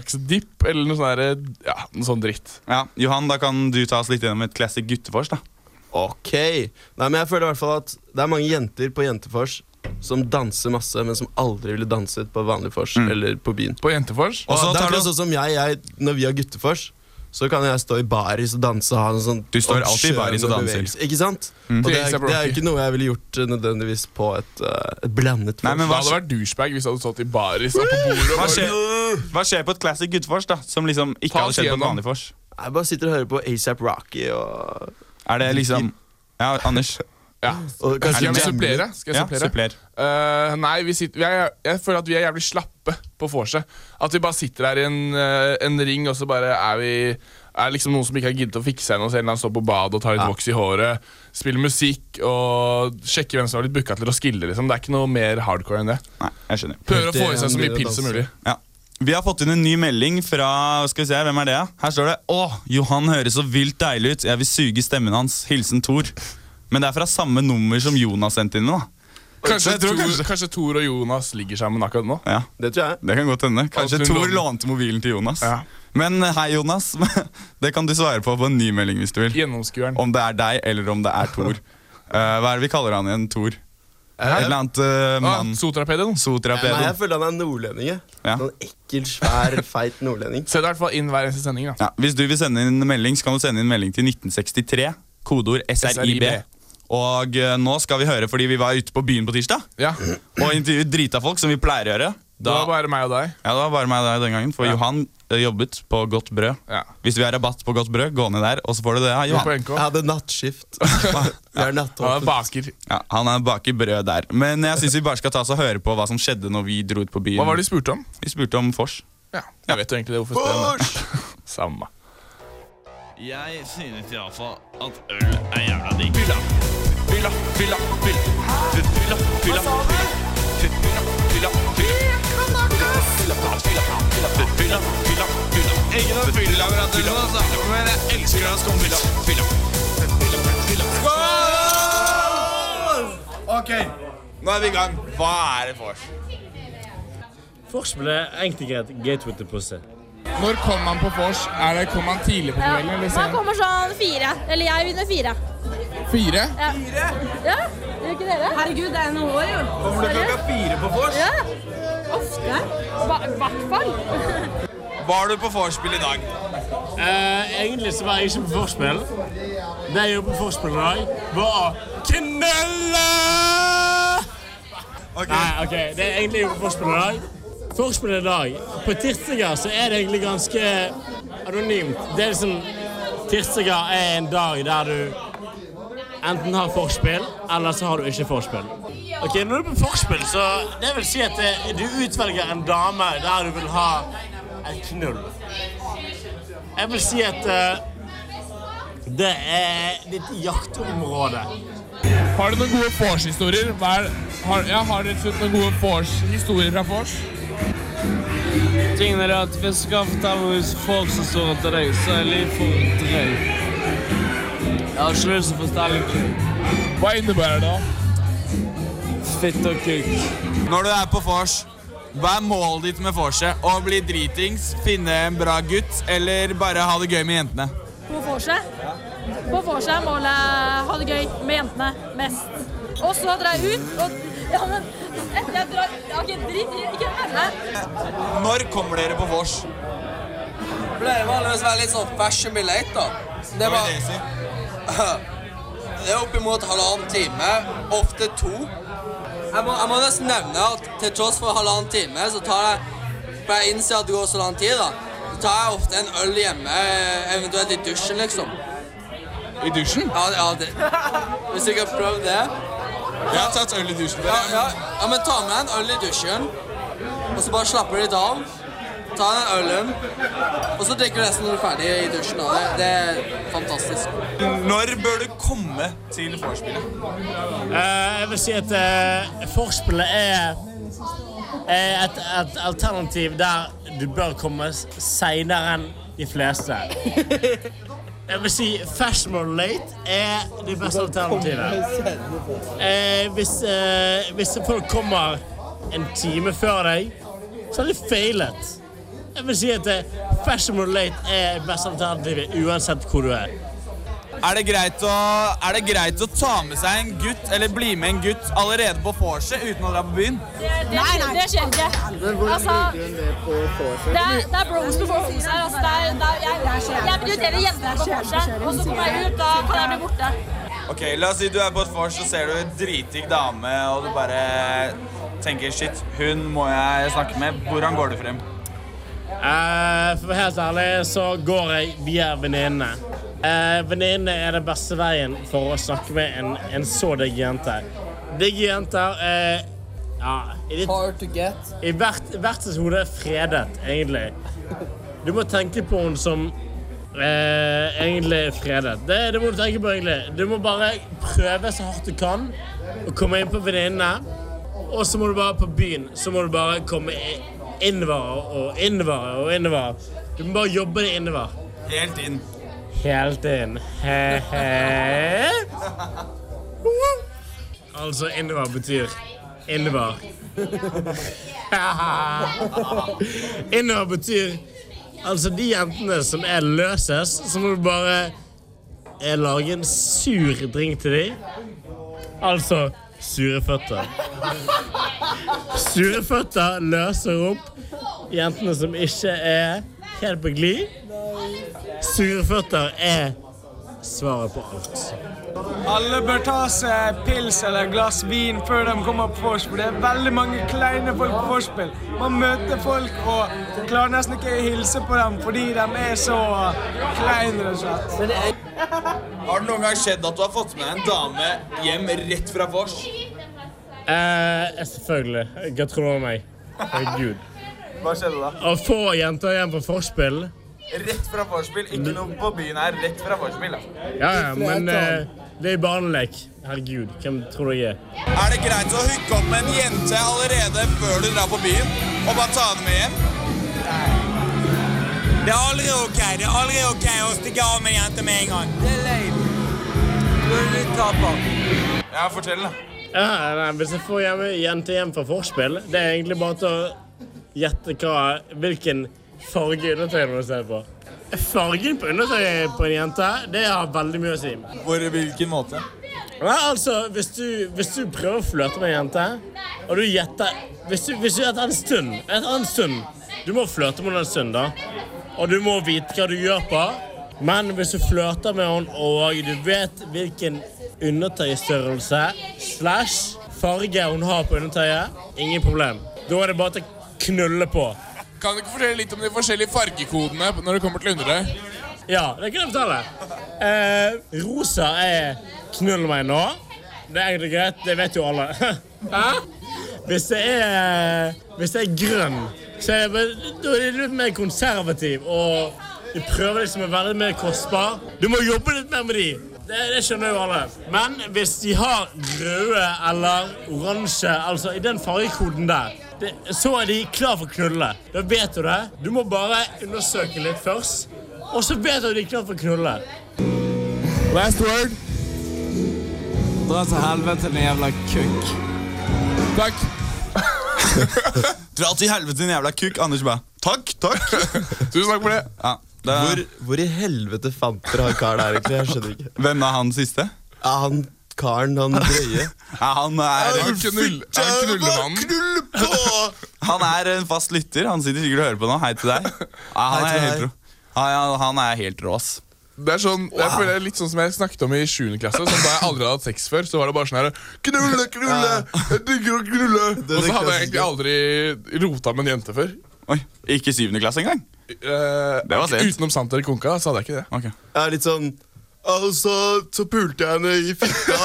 Speaker 5: grønnsaksdipp eller noe sånn der, ja, noe sånn dritt.
Speaker 3: Ja, Johan, da kan du ta oss litt gjennom et classic guttefors. da
Speaker 4: Ok. Nei, men jeg føler i hvert fall at det er mange jenter på Jentefors som danser masse, men som aldri ville danset på vanlig vors eller på byen.
Speaker 5: På Jentefors.
Speaker 3: Mm. Og så
Speaker 4: det
Speaker 3: tar
Speaker 4: er
Speaker 3: du-
Speaker 4: akkurat sånn som jeg, jeg, når vi har guttefors, så kan jeg stå i baris og danse. og Ha en sånn
Speaker 3: Du står alltid i baris og
Speaker 4: skjønne
Speaker 3: danser. Mm.
Speaker 4: bevegelse, Ikke sant? Og det er, det er jo ikke noe jeg ville gjort eh, nødvendigvis på et, eh, et blandet
Speaker 3: Nei,
Speaker 4: vors.
Speaker 3: men
Speaker 5: Det
Speaker 3: hva,
Speaker 5: hadde vært douchebag hvis du hadde stått i baris og på bordet.
Speaker 3: hva,
Speaker 5: og bare-
Speaker 3: skjer, hva skjer på et classic guttefors, da? Som liksom ikke
Speaker 5: Ta
Speaker 3: hadde
Speaker 5: oss
Speaker 3: skjedd på et
Speaker 5: gjennom.
Speaker 3: vanlig vors?
Speaker 4: Jeg bare sitter og hører på ASAP Rocky og,
Speaker 3: Er det liksom Ja, Anders.
Speaker 5: Ja.
Speaker 4: og
Speaker 5: Skal
Speaker 4: kanskje
Speaker 5: jeg
Speaker 4: jammer litt.
Speaker 5: supplere? Skal jeg
Speaker 3: Ja,
Speaker 5: supplere?
Speaker 3: suppler.
Speaker 5: Eh, nei, vi sitter, vi er, jeg føler at vi er jævlig slappe på vorset. At vi bare sitter her i en, eh, en ring, og så bare er vi er liksom noen som ikke har giddet å fikse ennå, så en eller annen står på badet og tar litt voks i håret, spiller musikk og sjekker hvem som har blitt booka til å skille. Liksom. Det er ikke noe mer hardcore enn det.
Speaker 3: Nei, jeg skjønner.
Speaker 5: Prøver å
Speaker 4: Det
Speaker 5: få i seg så
Speaker 4: er
Speaker 5: mye
Speaker 4: det
Speaker 5: pils som
Speaker 4: danser.
Speaker 5: mulig.
Speaker 3: Ja. Vi har fått inn en ny melding fra Skal vi se, hvem er det? Her står det Å, Johan høres så vilt deilig ut. Jeg vil suge stemmen hans. Hilsen Tor. Men det er fra samme nummer som Jonas sendte inn. da
Speaker 5: Kanskje,
Speaker 3: Jeg tror
Speaker 5: Tor,
Speaker 3: kanskje-
Speaker 5: kanskje. Tor og Jonas ligger sammen akkurat nå.
Speaker 3: Ja,
Speaker 4: Det tror jeg.
Speaker 3: Det kan godt hende. Kanskje
Speaker 5: At hun
Speaker 3: Tor
Speaker 5: lånte-
Speaker 3: lånte mobilen til Jonas.
Speaker 5: Ja.
Speaker 3: Men eh, hei, Jonas. Det kan du svare på på en ny melding hvis du vil.
Speaker 5: Gjennomskueren.
Speaker 3: Om det er deg, eller om det er Tor. Eh, hva er det vi kaller han igjen? Tor? Et eller annet eh,
Speaker 5: Ah,
Speaker 3: mann
Speaker 5: Sotrapedien.
Speaker 3: Sotrapedo.
Speaker 4: Nei, jeg føler han er nordlending. jeg.
Speaker 3: Ja.
Speaker 4: Sånn ekkel, svær, feit nordlending.
Speaker 5: Se deg i hvert fall inn hver eneste sending. da
Speaker 3: Ja, hvis du vil sende inn en melding, så kan du sende inn en melding til 1963, kodeord SRIB. Og eh, nå skal vi høre, fordi vi var ute på byen på tirsdag
Speaker 5: Ja,
Speaker 3: og intervjuet drita folk, som vi pleier å gjøre.
Speaker 5: Det
Speaker 3: Da,
Speaker 5: var bare meg og deg.
Speaker 3: ja, det var bare meg og deg den gangen, for Johan eh, jobbet på Godt Brød.
Speaker 5: Ja.
Speaker 3: Hvis du har rabatt på Godt Brød, gå ned der, og så får du det av
Speaker 5: På
Speaker 3: Johan.
Speaker 5: NK.
Speaker 4: Jeg hadde nattskift. Jeg er
Speaker 5: Han er
Speaker 4: nattåpen.
Speaker 5: baker.
Speaker 3: Ja, han er baker brød der. Men jeg syns vi bare skal ta oss og høre på hva som skjedde når vi dro ut på byen.
Speaker 5: Hva var det de spurte om?
Speaker 3: Vi spurte om vors.
Speaker 5: Ja, Jeg vet jo egentlig det. hvorfor jeg spør om det. Samme.
Speaker 7: Jeg synes iallfall at øl er jævla digg. Fylla, fylla, fylla, fylla. Fylla, fylla, fylla. Fylla, fylla, fylla. Fylla, fylla, fylla. Ikke noe fyllelaboratorium, altså. Men jeg elsker deg, skumfylla. Fylla.
Speaker 3: Ok, nå er vi i gang. Hva er et vors?
Speaker 8: Forspill er egentlig greit. Gateway til pussy.
Speaker 5: Når kom man på vors? Kom man tidlig på
Speaker 9: Ja. Man kommer sånn fire. Eller jeg vinner fire.
Speaker 5: Fire?
Speaker 9: Ja. Fire? Ja, gjør ikke dere? Herregud, det er noe, jo. Kommer du klokka fire på vors? Ja. Ofte. I hvert fall.
Speaker 3: Var du på vorspiel i dag?
Speaker 8: Eh, egentlig så var jeg ikke på forspill. Det jeg gjorde på forspill i dag, var å knelle! Nei, OK. Det er egentlig jeg gjorde på forspill i dag. Forspill i dag. På tirsdager så er det egentlig ganske anonymt. Det er liksom Tirsdager er en dag der du enten har forspill, eller så har du ikke forspill. Ok, Når du er på forspill, så det vil si at eh, du utvelger en dame der du vil ha et knull. Jeg vil si at eh, det er ditt jaktområde.
Speaker 5: Har du noen gode vors-historier? Hva er- Har, ja, har dere funnet noen gode vors-historier fra vors?
Speaker 8: Tingen er at hvis du skal fortelle hvis folk som står etter deg, så er livet for drøy. Jeg har ikke lyst til å fortelle kuk.
Speaker 5: Hva innebærer det? da?
Speaker 8: Fitt og kuk.
Speaker 3: Når du er på vors, hva er målet ditt med vorset? Å bli dritings, finne en bra gutt, eller bare ha det gøy med jentene?
Speaker 9: På vorset. På vorset er målet ha det gøy med jentene mest. Og så drar jeg ut og Ja, men etter jeg drar Ok, drit i Ikke hør meg.
Speaker 3: Når kommer dere på vors?
Speaker 10: pleier vanligvis å være litt sånn fashion be late, da. Så Det var, det er oppimot halvannen time, ofte to. Jeg må, jeg må nesten nevne at til tross for halvannen time, så tar jeg For jeg innser at det går så lang tid, da. Så tar jeg ofte en øl hjemme, eventuelt i dusjen, liksom.
Speaker 5: I dusjen?
Speaker 10: Ja, ja det, Hvis du ikke har prøvd det.
Speaker 5: Jeg har tatt øl i dusjen.
Speaker 10: Ja, ja, ja, men ta med en øl i dusjen, og så bare slapper du litt av. Ta den ølen, og så drikker du nesten når du er ferdig i dusjen. Da. Det, det er fantastisk.
Speaker 3: Når bør du komme til vorspielet?
Speaker 8: Eh, jeg vil si at eh, forspillet er, er et, et alternativ der du bør komme s- seinere enn de fleste. Jeg vil si fashionable late er det beste alternativet. Eh, hvis, eh, hvis folk kommer en time før deg, så har de feilet. Jeg vil si at eh, fashionable late er det beste alternativet uansett hvor du er.
Speaker 3: Er det, greit å, er det greit å ta med seg en gutt, eller bli med en gutt, allerede på vorset uten å dra på byen?
Speaker 9: Det, skjer- det skjer ikke. Altså, det er, det er bros på forhånds her. Altså, det er, det er, jeg, jeg prioriterer jentene på forhånds, og så kommer jeg ut, da kan jeg bli borte.
Speaker 3: Ok, La oss si du er på et vors og ser du en dritdigg dame, og du bare tenker shit, hun må jeg snakke med. Hvordan går du frem?
Speaker 8: Eh, for å være helt ærlig så går jeg via venninnene. Eh, venninnene er den beste veien for å snakke med en, en så digg jente. Digge jenter eh, ja, i, ditt,
Speaker 10: Hard to get.
Speaker 8: i hvert, hvert sitt hode er fredet, egentlig. Du må tenke på henne som eh, egentlig er fredet. Det, det må du tenke på, egentlig. Du må bare prøve så hardt du kan å komme inn på venninnene. Og så må du bare på byen. Så må du bare komme i- innover og innover og innover. Du må bare jobbe deg innover.
Speaker 3: Helt inn.
Speaker 8: Helt inn. He-he. Altså innover betyr innover. innover betyr Altså, de jentene som er løsest, så må du bare eh, lage en sur drink til dem. Altså Sure føtter. Sure føtter løser opp jentene som ikke er helt på glid. Sure føtter er svaret på alt.
Speaker 11: Alle bør ta seg pils eller glass vin før de kommer på vorspiel. Det er veldig mange kleine folk på vorspiel. Man møter folk og klarer nesten ikke å hilse på dem fordi de er så kleine. rett og slett.
Speaker 7: Har det noen gang skjedd at du har fått med en dame hjem rett fra vors?
Speaker 8: Eh, selvfølgelig. Hva tror du om meg? Herregud.
Speaker 7: Hva skjedde da?
Speaker 8: Å få jenter igjen på forspill
Speaker 7: Rett fra vorspiel. Ikke noe på byen her. Rett fra vorspiel. da.
Speaker 8: Ja, ja, men eh, det er barnelek. Herregud, hvem tror du jeg er?
Speaker 6: Er det greit å hooke opp med en jente allerede før du drar på byen? Og bare ta henne med hjem? Det er aldri ok Det er aldri ok å stikke av med en jente med en gang.
Speaker 11: Det er lame. Du er litt taper.
Speaker 7: Ja, fortell, da.
Speaker 8: Ja, nei, hvis jeg får hjemme, jenter hjem fra forspill, det er egentlig bare til å gjette hva, hvilken farge undertøyene må se på. Fargen på undertøyet på en jente, det har veldig mye å si.
Speaker 7: Hvor, hvilken måte?
Speaker 8: Nei, altså, hvis du, hvis du prøver å flørte med en jente, og du gjetter Hvis du, hvis du gjetter en stund et annet stund Du må flørte med henne en stund, da. Og du må vite hva du gjør på. Men hvis du flørter med henne og du vet hvilken undertøystørrelse slash farge hun har på undertøyet, ingen problem. Da er det bare til å knulle på.
Speaker 5: Kan du ikke fortelle litt om de forskjellige fargekodene når det kommer til undertøy?
Speaker 8: Ja, det kan jeg fortelle. Eh, rosa er 'knull meg nå'. Det er egentlig greit, det vet jo alle. Hæ? Hvis det er, hvis det er grønn, så er det, bare- da er det litt mer konservativ. Og du prøver liksom å være litt mer kostbar. Du må jobbe litt mer med de. Det, det skjønner jo alle. Men hvis de har røde eller oransje, altså i den fargekoden der, det, så er de klar for å knulle. Da vet du det. Du må bare undersøke litt først. Og så vet du at de er klar for å knulle.
Speaker 11: Last word. Dra til helvete, din jævla kukk.
Speaker 5: Takk.
Speaker 3: Dra til helvete, din jævla kukk. Anders bare takk, takk.
Speaker 5: Tusen takk for det.
Speaker 3: Ja, det,
Speaker 4: Hvor, hvor i helvete fant dere han karen her, egentlig? Jeg skjønner ikke.
Speaker 3: Hvem er han siste?
Speaker 4: Er han karen, han drøye?
Speaker 3: Ja, han er
Speaker 5: Han knull- han knullemannen.
Speaker 3: Han er en fast lytter. Han sitter sikkert og hører på nå. Hei til deg. Ja, han,
Speaker 4: Hei
Speaker 3: er
Speaker 4: til
Speaker 3: helt
Speaker 4: deg.
Speaker 3: rå. Ja, ja, han er helt rå, ass.
Speaker 5: Det er sånn, jeg føler det er litt sånn som jeg snakket om i 7. klasse. Sånn da jeg aldri hadde hatt sex før, så var det bare sånn her Knulle, knulle, jeg digger å knulle.
Speaker 4: Det er
Speaker 5: Og så hadde jeg
Speaker 4: det
Speaker 5: egentlig aldri rota med en jente før.
Speaker 3: Oi, Ikke syvende klasse engang?
Speaker 5: Det
Speaker 3: var sent.
Speaker 5: Utenom samt eller konka, så hadde jeg ikke det.
Speaker 3: Ok.
Speaker 4: Jeg er litt sånn Altså, så pulte jeg henne i fitta,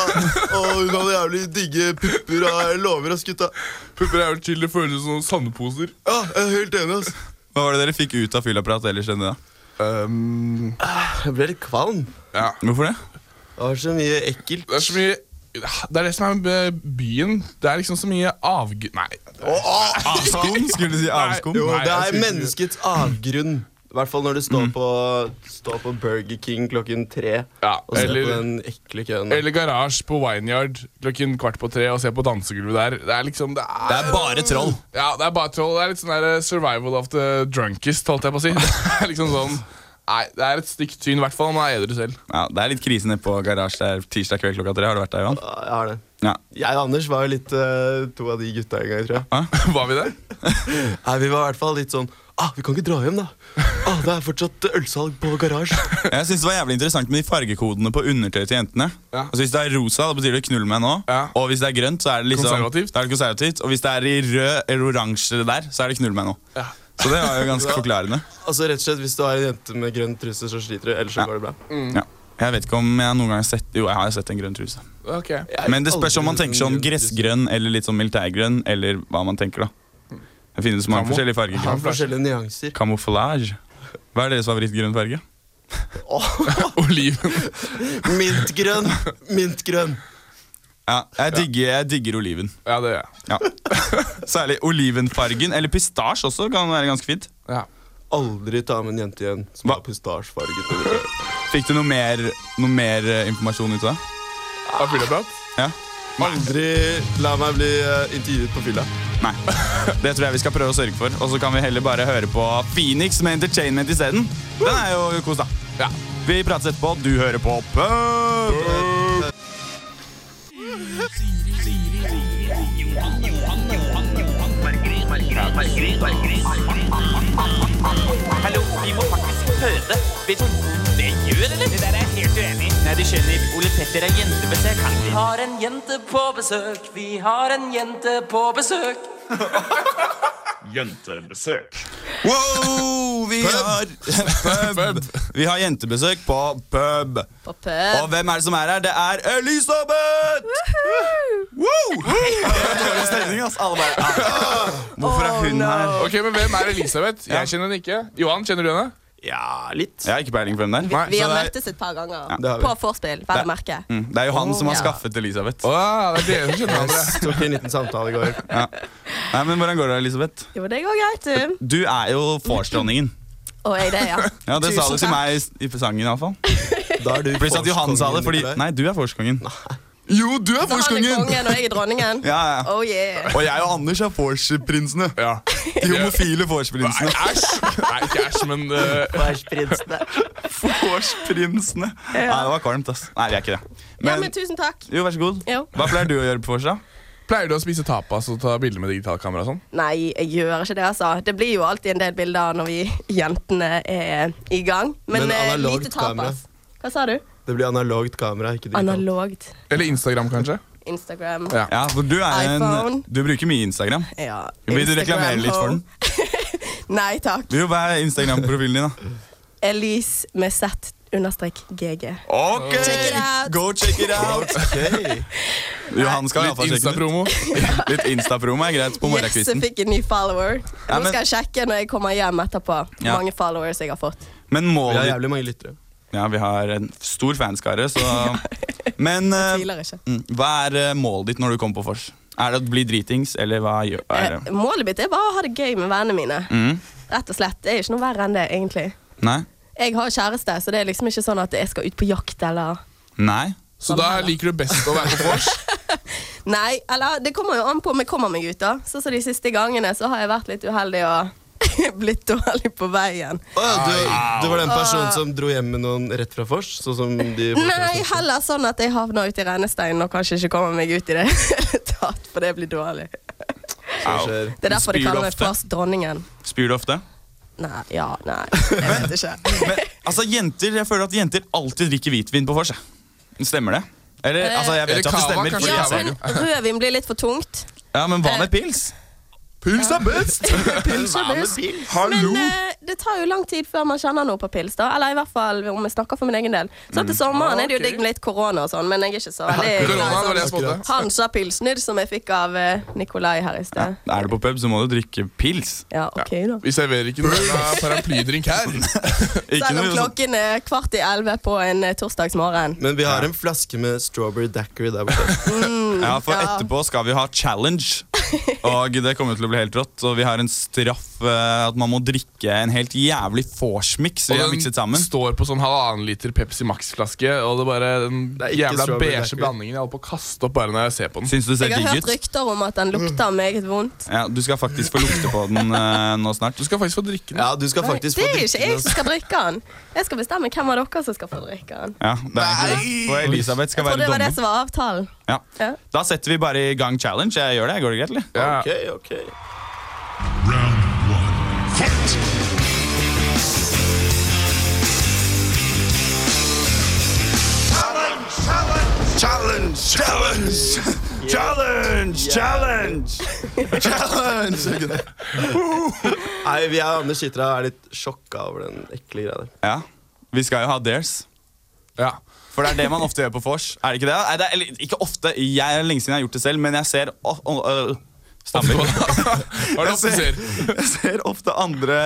Speaker 4: og hun hadde jævlig digge pupper, og jeg lover oss, gutta.
Speaker 5: Pupper er vel chill, det føles som sandposer.
Speaker 4: Ja, jeg er helt enig, ass.
Speaker 3: Hva var det dere fikk ut av fyllapparat ellers enn det? da?
Speaker 5: Um,
Speaker 4: Jeg ble litt kvalm.
Speaker 5: ja.
Speaker 3: Hvorfor det?
Speaker 4: Det var så mye ekkelt.
Speaker 5: Det er så mye Det er det som er med byen. Det er liksom så mye avg... Nei.
Speaker 3: Avskum? Skulle du si avskum?
Speaker 5: Nei,
Speaker 4: Jo,
Speaker 5: nei,
Speaker 4: det
Speaker 5: jeg
Speaker 4: er
Speaker 5: synes- Mm.
Speaker 4: menneskets avgrunn. I hvert fall når du står, på, står på Burger King klokken tre
Speaker 5: Ja,
Speaker 4: og ser
Speaker 5: eller-
Speaker 4: på den ekle køen.
Speaker 5: Eller garasje på Wineyard klokken kvart på tre og se på dansegulvet der. Det er liksom, det er,
Speaker 3: Det er bare troll.
Speaker 5: Ja, det er bare troll. Det er litt sånn der eh, survival of the drunkest, holdt jeg på å si. Det er liksom sånn Nei, det er et stygt syn, i hvert fall når man er edru selv.
Speaker 3: Ja, Det er litt krise nede på garasje der tirsdag kveld klokka tre. Har du vært der, Johan?
Speaker 4: Ja, jeg har det.
Speaker 3: Ja.
Speaker 4: Jeg og Anders var jo litt eh, to av de gutta en gang, tror jeg.
Speaker 5: Var vi det?
Speaker 4: Nei, Vi var i hvert fall litt sånn ah, Vi kan ikke dra hjem, da. Ah, det er fortsatt ølsalg på garasje.
Speaker 3: Jeg synes Det var jævlig interessant med de fargekodene på undertøy til jentene.
Speaker 5: Ja.
Speaker 3: Altså Hvis det er rosa, da betyr det 'knull meg nå'.
Speaker 5: Ja.
Speaker 3: Og hvis det er grønt, så er det liksom
Speaker 5: Konservativt.
Speaker 3: Da er det konservativt. Og hvis det er i rød eller oransje der, så er det 'knull meg nå'. Så det var jo ganske forklarende.
Speaker 4: Altså rett og slett, Hvis du har en jente med grønn truse, så sliter du. Ellers så
Speaker 3: Ja.
Speaker 4: går det bra.
Speaker 3: Ja. Jeg vet ikke om jeg noen gang har sett Jo, jeg har sett en grønn truse.
Speaker 5: Ok.
Speaker 4: Jeg
Speaker 3: Men det
Speaker 4: har
Speaker 3: spørs om man
Speaker 4: aldri
Speaker 3: tenker
Speaker 4: sett en
Speaker 3: sånn
Speaker 4: grønn truse.
Speaker 3: gressgrønn eller litt sånn militærgrønn, eller hva man tenker, da. Det finnes mange
Speaker 5: Kamo.
Speaker 3: forskjellige farger.
Speaker 4: Har forskjellige nyanser.
Speaker 3: Camouflage. Hva er deres favorittgrønn farge?
Speaker 5: Oliven.
Speaker 4: Mintgrønn! Mintgrønn.
Speaker 3: Ja, jeg digger, jeg digger oliven.
Speaker 5: Ja, det gjør jeg.
Speaker 3: Ja. Særlig olivenfargen, eller pistasje også, kan være ganske fint.
Speaker 5: Ja.
Speaker 4: Aldri ta med en jente igjen som
Speaker 3: Hva?
Speaker 4: har pistasjefarget.
Speaker 3: Fikk du noe mer, noe mer eh, informasjon ut av det?
Speaker 5: Da fyller jeg prat.
Speaker 3: Ja?
Speaker 4: Aldri la meg bli eh, intervjuet på fylla.
Speaker 3: Nei. Det tror jeg vi skal prøve å sørge for. Og så kan vi heller bare høre på Phoenix med Entertainment isteden. Den er jo kos, da.
Speaker 5: Ja.
Speaker 3: Vi prates etterpå. Du hører på Pub.
Speaker 7: Siri, Siri,
Speaker 12: Hallo, vi må faktisk føde. Vet du hvor vondt det gjør, eller? Det der er jeg helt uenig i. Nei, du skjønner, Ole Petter er jentebesøk. Han
Speaker 6: Vi har en jente på besøk, vi har en jente på besøk.
Speaker 7: Jentebesøk.
Speaker 3: Wow, vi har pub. Vi har jentebesøk på pub.
Speaker 9: På pub.
Speaker 3: Og hvem er det som er her? Det er Elisabeth! Wow! Dårlig stemning, ass. Alle bare ah, Hvorfor er hun her?
Speaker 5: Ok, men Hvem er Elisabeth? Jeg kjenner henne ikke. Johan, kjenner du henne?
Speaker 3: Ja, litt. Jeg har ikke peiling på hvem det er.
Speaker 13: Vi, vi
Speaker 3: Så
Speaker 13: har
Speaker 3: det er-
Speaker 13: møttes et par ganger
Speaker 3: Ja, det har vi.
Speaker 13: på vorspiel. Vel å merke.
Speaker 3: Mm, det er jo han som har
Speaker 13: Ja.
Speaker 3: skaffet Elisabeth.
Speaker 5: Ah, det er dere som kjenner
Speaker 4: hverandre. Jeg tok en liten samtale i går.
Speaker 3: Ja. Nei, men Hvordan går det, Elisabeth?
Speaker 13: Jo, det går greit, du.
Speaker 3: Du er jo vorsdronningen.
Speaker 13: Og jeg det, ja.
Speaker 3: Ja, Det sa
Speaker 13: Tusen
Speaker 3: du til
Speaker 13: takk.
Speaker 3: meg i i sangen, iallfall. Pluss at Johan sa det,
Speaker 4: forskongen,
Speaker 3: fordi
Speaker 4: Nikolai.
Speaker 3: Nei, du er vorskongen. Jo, du er
Speaker 13: Så han er kongen, og jeg er dronningen.
Speaker 3: Ja, ja.
Speaker 13: Oh yeah.
Speaker 3: Og jeg og Anders er vorsprinsene.
Speaker 5: Ja.
Speaker 3: De homofile vorsprinsene.
Speaker 5: Nei, æsj! Nei, ikke æsj, men eh,
Speaker 3: Vorsprinsene. Vorsprinsene. Nei, det var kvalmt, ass. Nei, vi er ikke det.
Speaker 13: ja, men tusen takk.
Speaker 3: Jo, vær så god.
Speaker 13: Jo.
Speaker 3: Hva pleier du å gjøre på vorsa?
Speaker 5: Pleier du å spise tapas og ta bilder med digitalkamera og sånn?
Speaker 13: Nei, jeg gjør ikke det, altså. Det blir jo alltid en del bilder når vi jentene er i gang. Men,
Speaker 4: Men
Speaker 13: eh,
Speaker 4: analogt
Speaker 13: lite tapas. Hva sa du?
Speaker 4: Det blir analogt kamera, ikke digitalt.
Speaker 13: Analogt.
Speaker 5: Eller Instagram, kanskje?
Speaker 13: Instagram.
Speaker 5: Ja.
Speaker 3: Ja, for du er en
Speaker 13: iPhone.
Speaker 3: Du bruker mye Instagram.
Speaker 13: Ja,
Speaker 3: Vil du
Speaker 13: Instagram,
Speaker 3: reklamere litt for den?
Speaker 13: Nei takk.
Speaker 3: Jo, hva er Instagram-profilen din, da?
Speaker 13: Elise med Z understrek GG.
Speaker 3: Ok!
Speaker 13: Check it out.
Speaker 3: Go check it out! Johan skal
Speaker 5: Litt Insta-promo.
Speaker 3: Litt Insta-promo er greit på
Speaker 13: Yes, jeg
Speaker 3: morgenkvisten.
Speaker 13: fikk en ny follower.
Speaker 3: Ja,
Speaker 13: Nå
Speaker 3: men-
Speaker 13: skal jeg sjekke når jeg kommer hjem etterpå. Hvor
Speaker 3: Ja.
Speaker 13: mange followers jeg har fått.
Speaker 3: Men
Speaker 4: Vi har
Speaker 3: målet
Speaker 4: jævlig mange lyttere.
Speaker 3: Ja, vi har en stor fanskare, så Men eh,
Speaker 13: Tviler ikke.
Speaker 3: mm, hva er eh, målet ditt når du kommer på vors? Er det å bli dritings, eller hva gjør
Speaker 13: Eh,
Speaker 3: er det?
Speaker 13: Målet mitt er bare å ha det gøy med vennene mine.
Speaker 3: Mm,
Speaker 13: Rett og slett. Det er ikke noe verre enn det, egentlig.
Speaker 3: nei?
Speaker 13: Jeg har kjæreste, så det er liksom ikke sånn at jeg skal ut på jakt eller
Speaker 3: Nei?
Speaker 5: Så da liker du best å være på vors?
Speaker 13: Nei, eller det kommer jo an på om jeg kommer meg ut, da. Sånn som de siste gangene, så har jeg vært litt uheldig og blitt dårlig på veien.
Speaker 4: Å, ja, du, du
Speaker 13: Ah.
Speaker 4: var den personen som dro hjem med noen rett fra vors? Sånn som de
Speaker 13: Nei, heller sånn at jeg havner ute i rennesteinen og kanskje ikke kommer meg ut i det hele tatt, for det blir dårlig.
Speaker 4: skjer.
Speaker 13: Det er derfor de
Speaker 3: Spyr du
Speaker 13: kaller meg
Speaker 3: ofte?
Speaker 13: fast dronningen.
Speaker 3: Spyr du ofte?
Speaker 13: Nei, ja, nei, jeg vet ikke.
Speaker 3: Men altså, jenter, jeg føler at jenter alltid drikker hvitvin på vors. jeg. Stemmer det? Eller, altså, jeg vet jo
Speaker 5: eller
Speaker 3: at det
Speaker 5: kava,
Speaker 3: stemmer.
Speaker 5: kanskje
Speaker 3: Fordi
Speaker 13: Ja,
Speaker 3: jeg ser det
Speaker 13: men
Speaker 3: jo.
Speaker 13: rødvin blir litt for tungt.
Speaker 3: Ja, men hva
Speaker 13: Eh.
Speaker 3: med pils?
Speaker 5: Pils er best!
Speaker 13: Pils er best.
Speaker 5: Hallo!
Speaker 13: Men eh, det tar jo lang tid før man kjenner noe på pils, da. Eller i hvert fall om jeg snakker for min egen del. Så
Speaker 3: Mm.
Speaker 13: til sommeren er det jo digg med litt korona og sånn, men jeg er ikke så veldig
Speaker 5: Korona, det var det jeg spådde.
Speaker 13: Hansa pilsner, som jeg fikk av eh, Nikolai her i
Speaker 3: Ja,
Speaker 13: sted.
Speaker 3: er du på pub, så må du drikke pils.
Speaker 13: Ja, OK, da.
Speaker 5: Vi serverer ikke noe jævla paraplydrink her.
Speaker 3: Ikke
Speaker 13: Selv om
Speaker 3: noe sånn-
Speaker 13: klokken er kvart i elleve på en eh, torsdagsmorgen.
Speaker 4: Men vi har en flaske med strawberry daiquiri der borte.
Speaker 3: Ja, for
Speaker 13: Ja.
Speaker 3: etterpå skal vi ha challenge. Og det kommer til å bli helt rått. Og vi har en straff eh, at man må drikke en helt jævlig vorsmix vi har
Speaker 5: Og
Speaker 3: mikset
Speaker 5: den
Speaker 3: sammen.
Speaker 5: står på sånn halvannen liter Pepsi Max-flaske, og det er bare den
Speaker 4: er ikke
Speaker 5: jævla
Speaker 4: strawberry
Speaker 5: beige
Speaker 4: daiquiri.
Speaker 5: blandingen jeg holder på å kaste opp bare når jeg ser på den.
Speaker 3: Syns du ser
Speaker 13: Jeg har
Speaker 3: digg
Speaker 13: hørt
Speaker 3: ut?
Speaker 13: rykter om at den lukter meget vondt.
Speaker 3: Ja, du skal faktisk få lukte på den eh, nå snart.
Speaker 5: Du skal faktisk få drikke den.
Speaker 4: Ja, du skal
Speaker 13: Det
Speaker 4: faktisk få
Speaker 13: er jo
Speaker 4: drikke altså.
Speaker 13: ikke jeg som skal drikke den. Jeg skal bestemme hvem av dere som skal få drikke den.
Speaker 3: Ja, det er egentlig det. Og Elisabeth skal
Speaker 13: Jeg tror
Speaker 3: være
Speaker 13: det var
Speaker 3: dommer.
Speaker 13: det som var avtalen.
Speaker 3: Ja.
Speaker 13: Ja.
Speaker 3: Da setter vi bare i gang challenge. Jeg gjør det. Går det greit, eller?
Speaker 5: Ja.
Speaker 4: Ok, ok.
Speaker 3: Challenge! Challenge! Challenge! Challenge! Challenge!
Speaker 4: Nei, vi er Anders Hitra er litt sjokka over den ekle greia der.
Speaker 3: Ja. Vi skal jo ha dares.
Speaker 5: Ja.
Speaker 3: For det er det man ofte gjør på vors. Er det ikke det? Nei, det er, eller, ikke ofte. Jeg, lenge siden jeg har gjort det selv, men jeg ser å, å, øh, Stammer.
Speaker 5: Hva er
Speaker 3: Jeg
Speaker 5: det ofte
Speaker 3: ser,
Speaker 5: ser?
Speaker 3: jeg ser ofte andre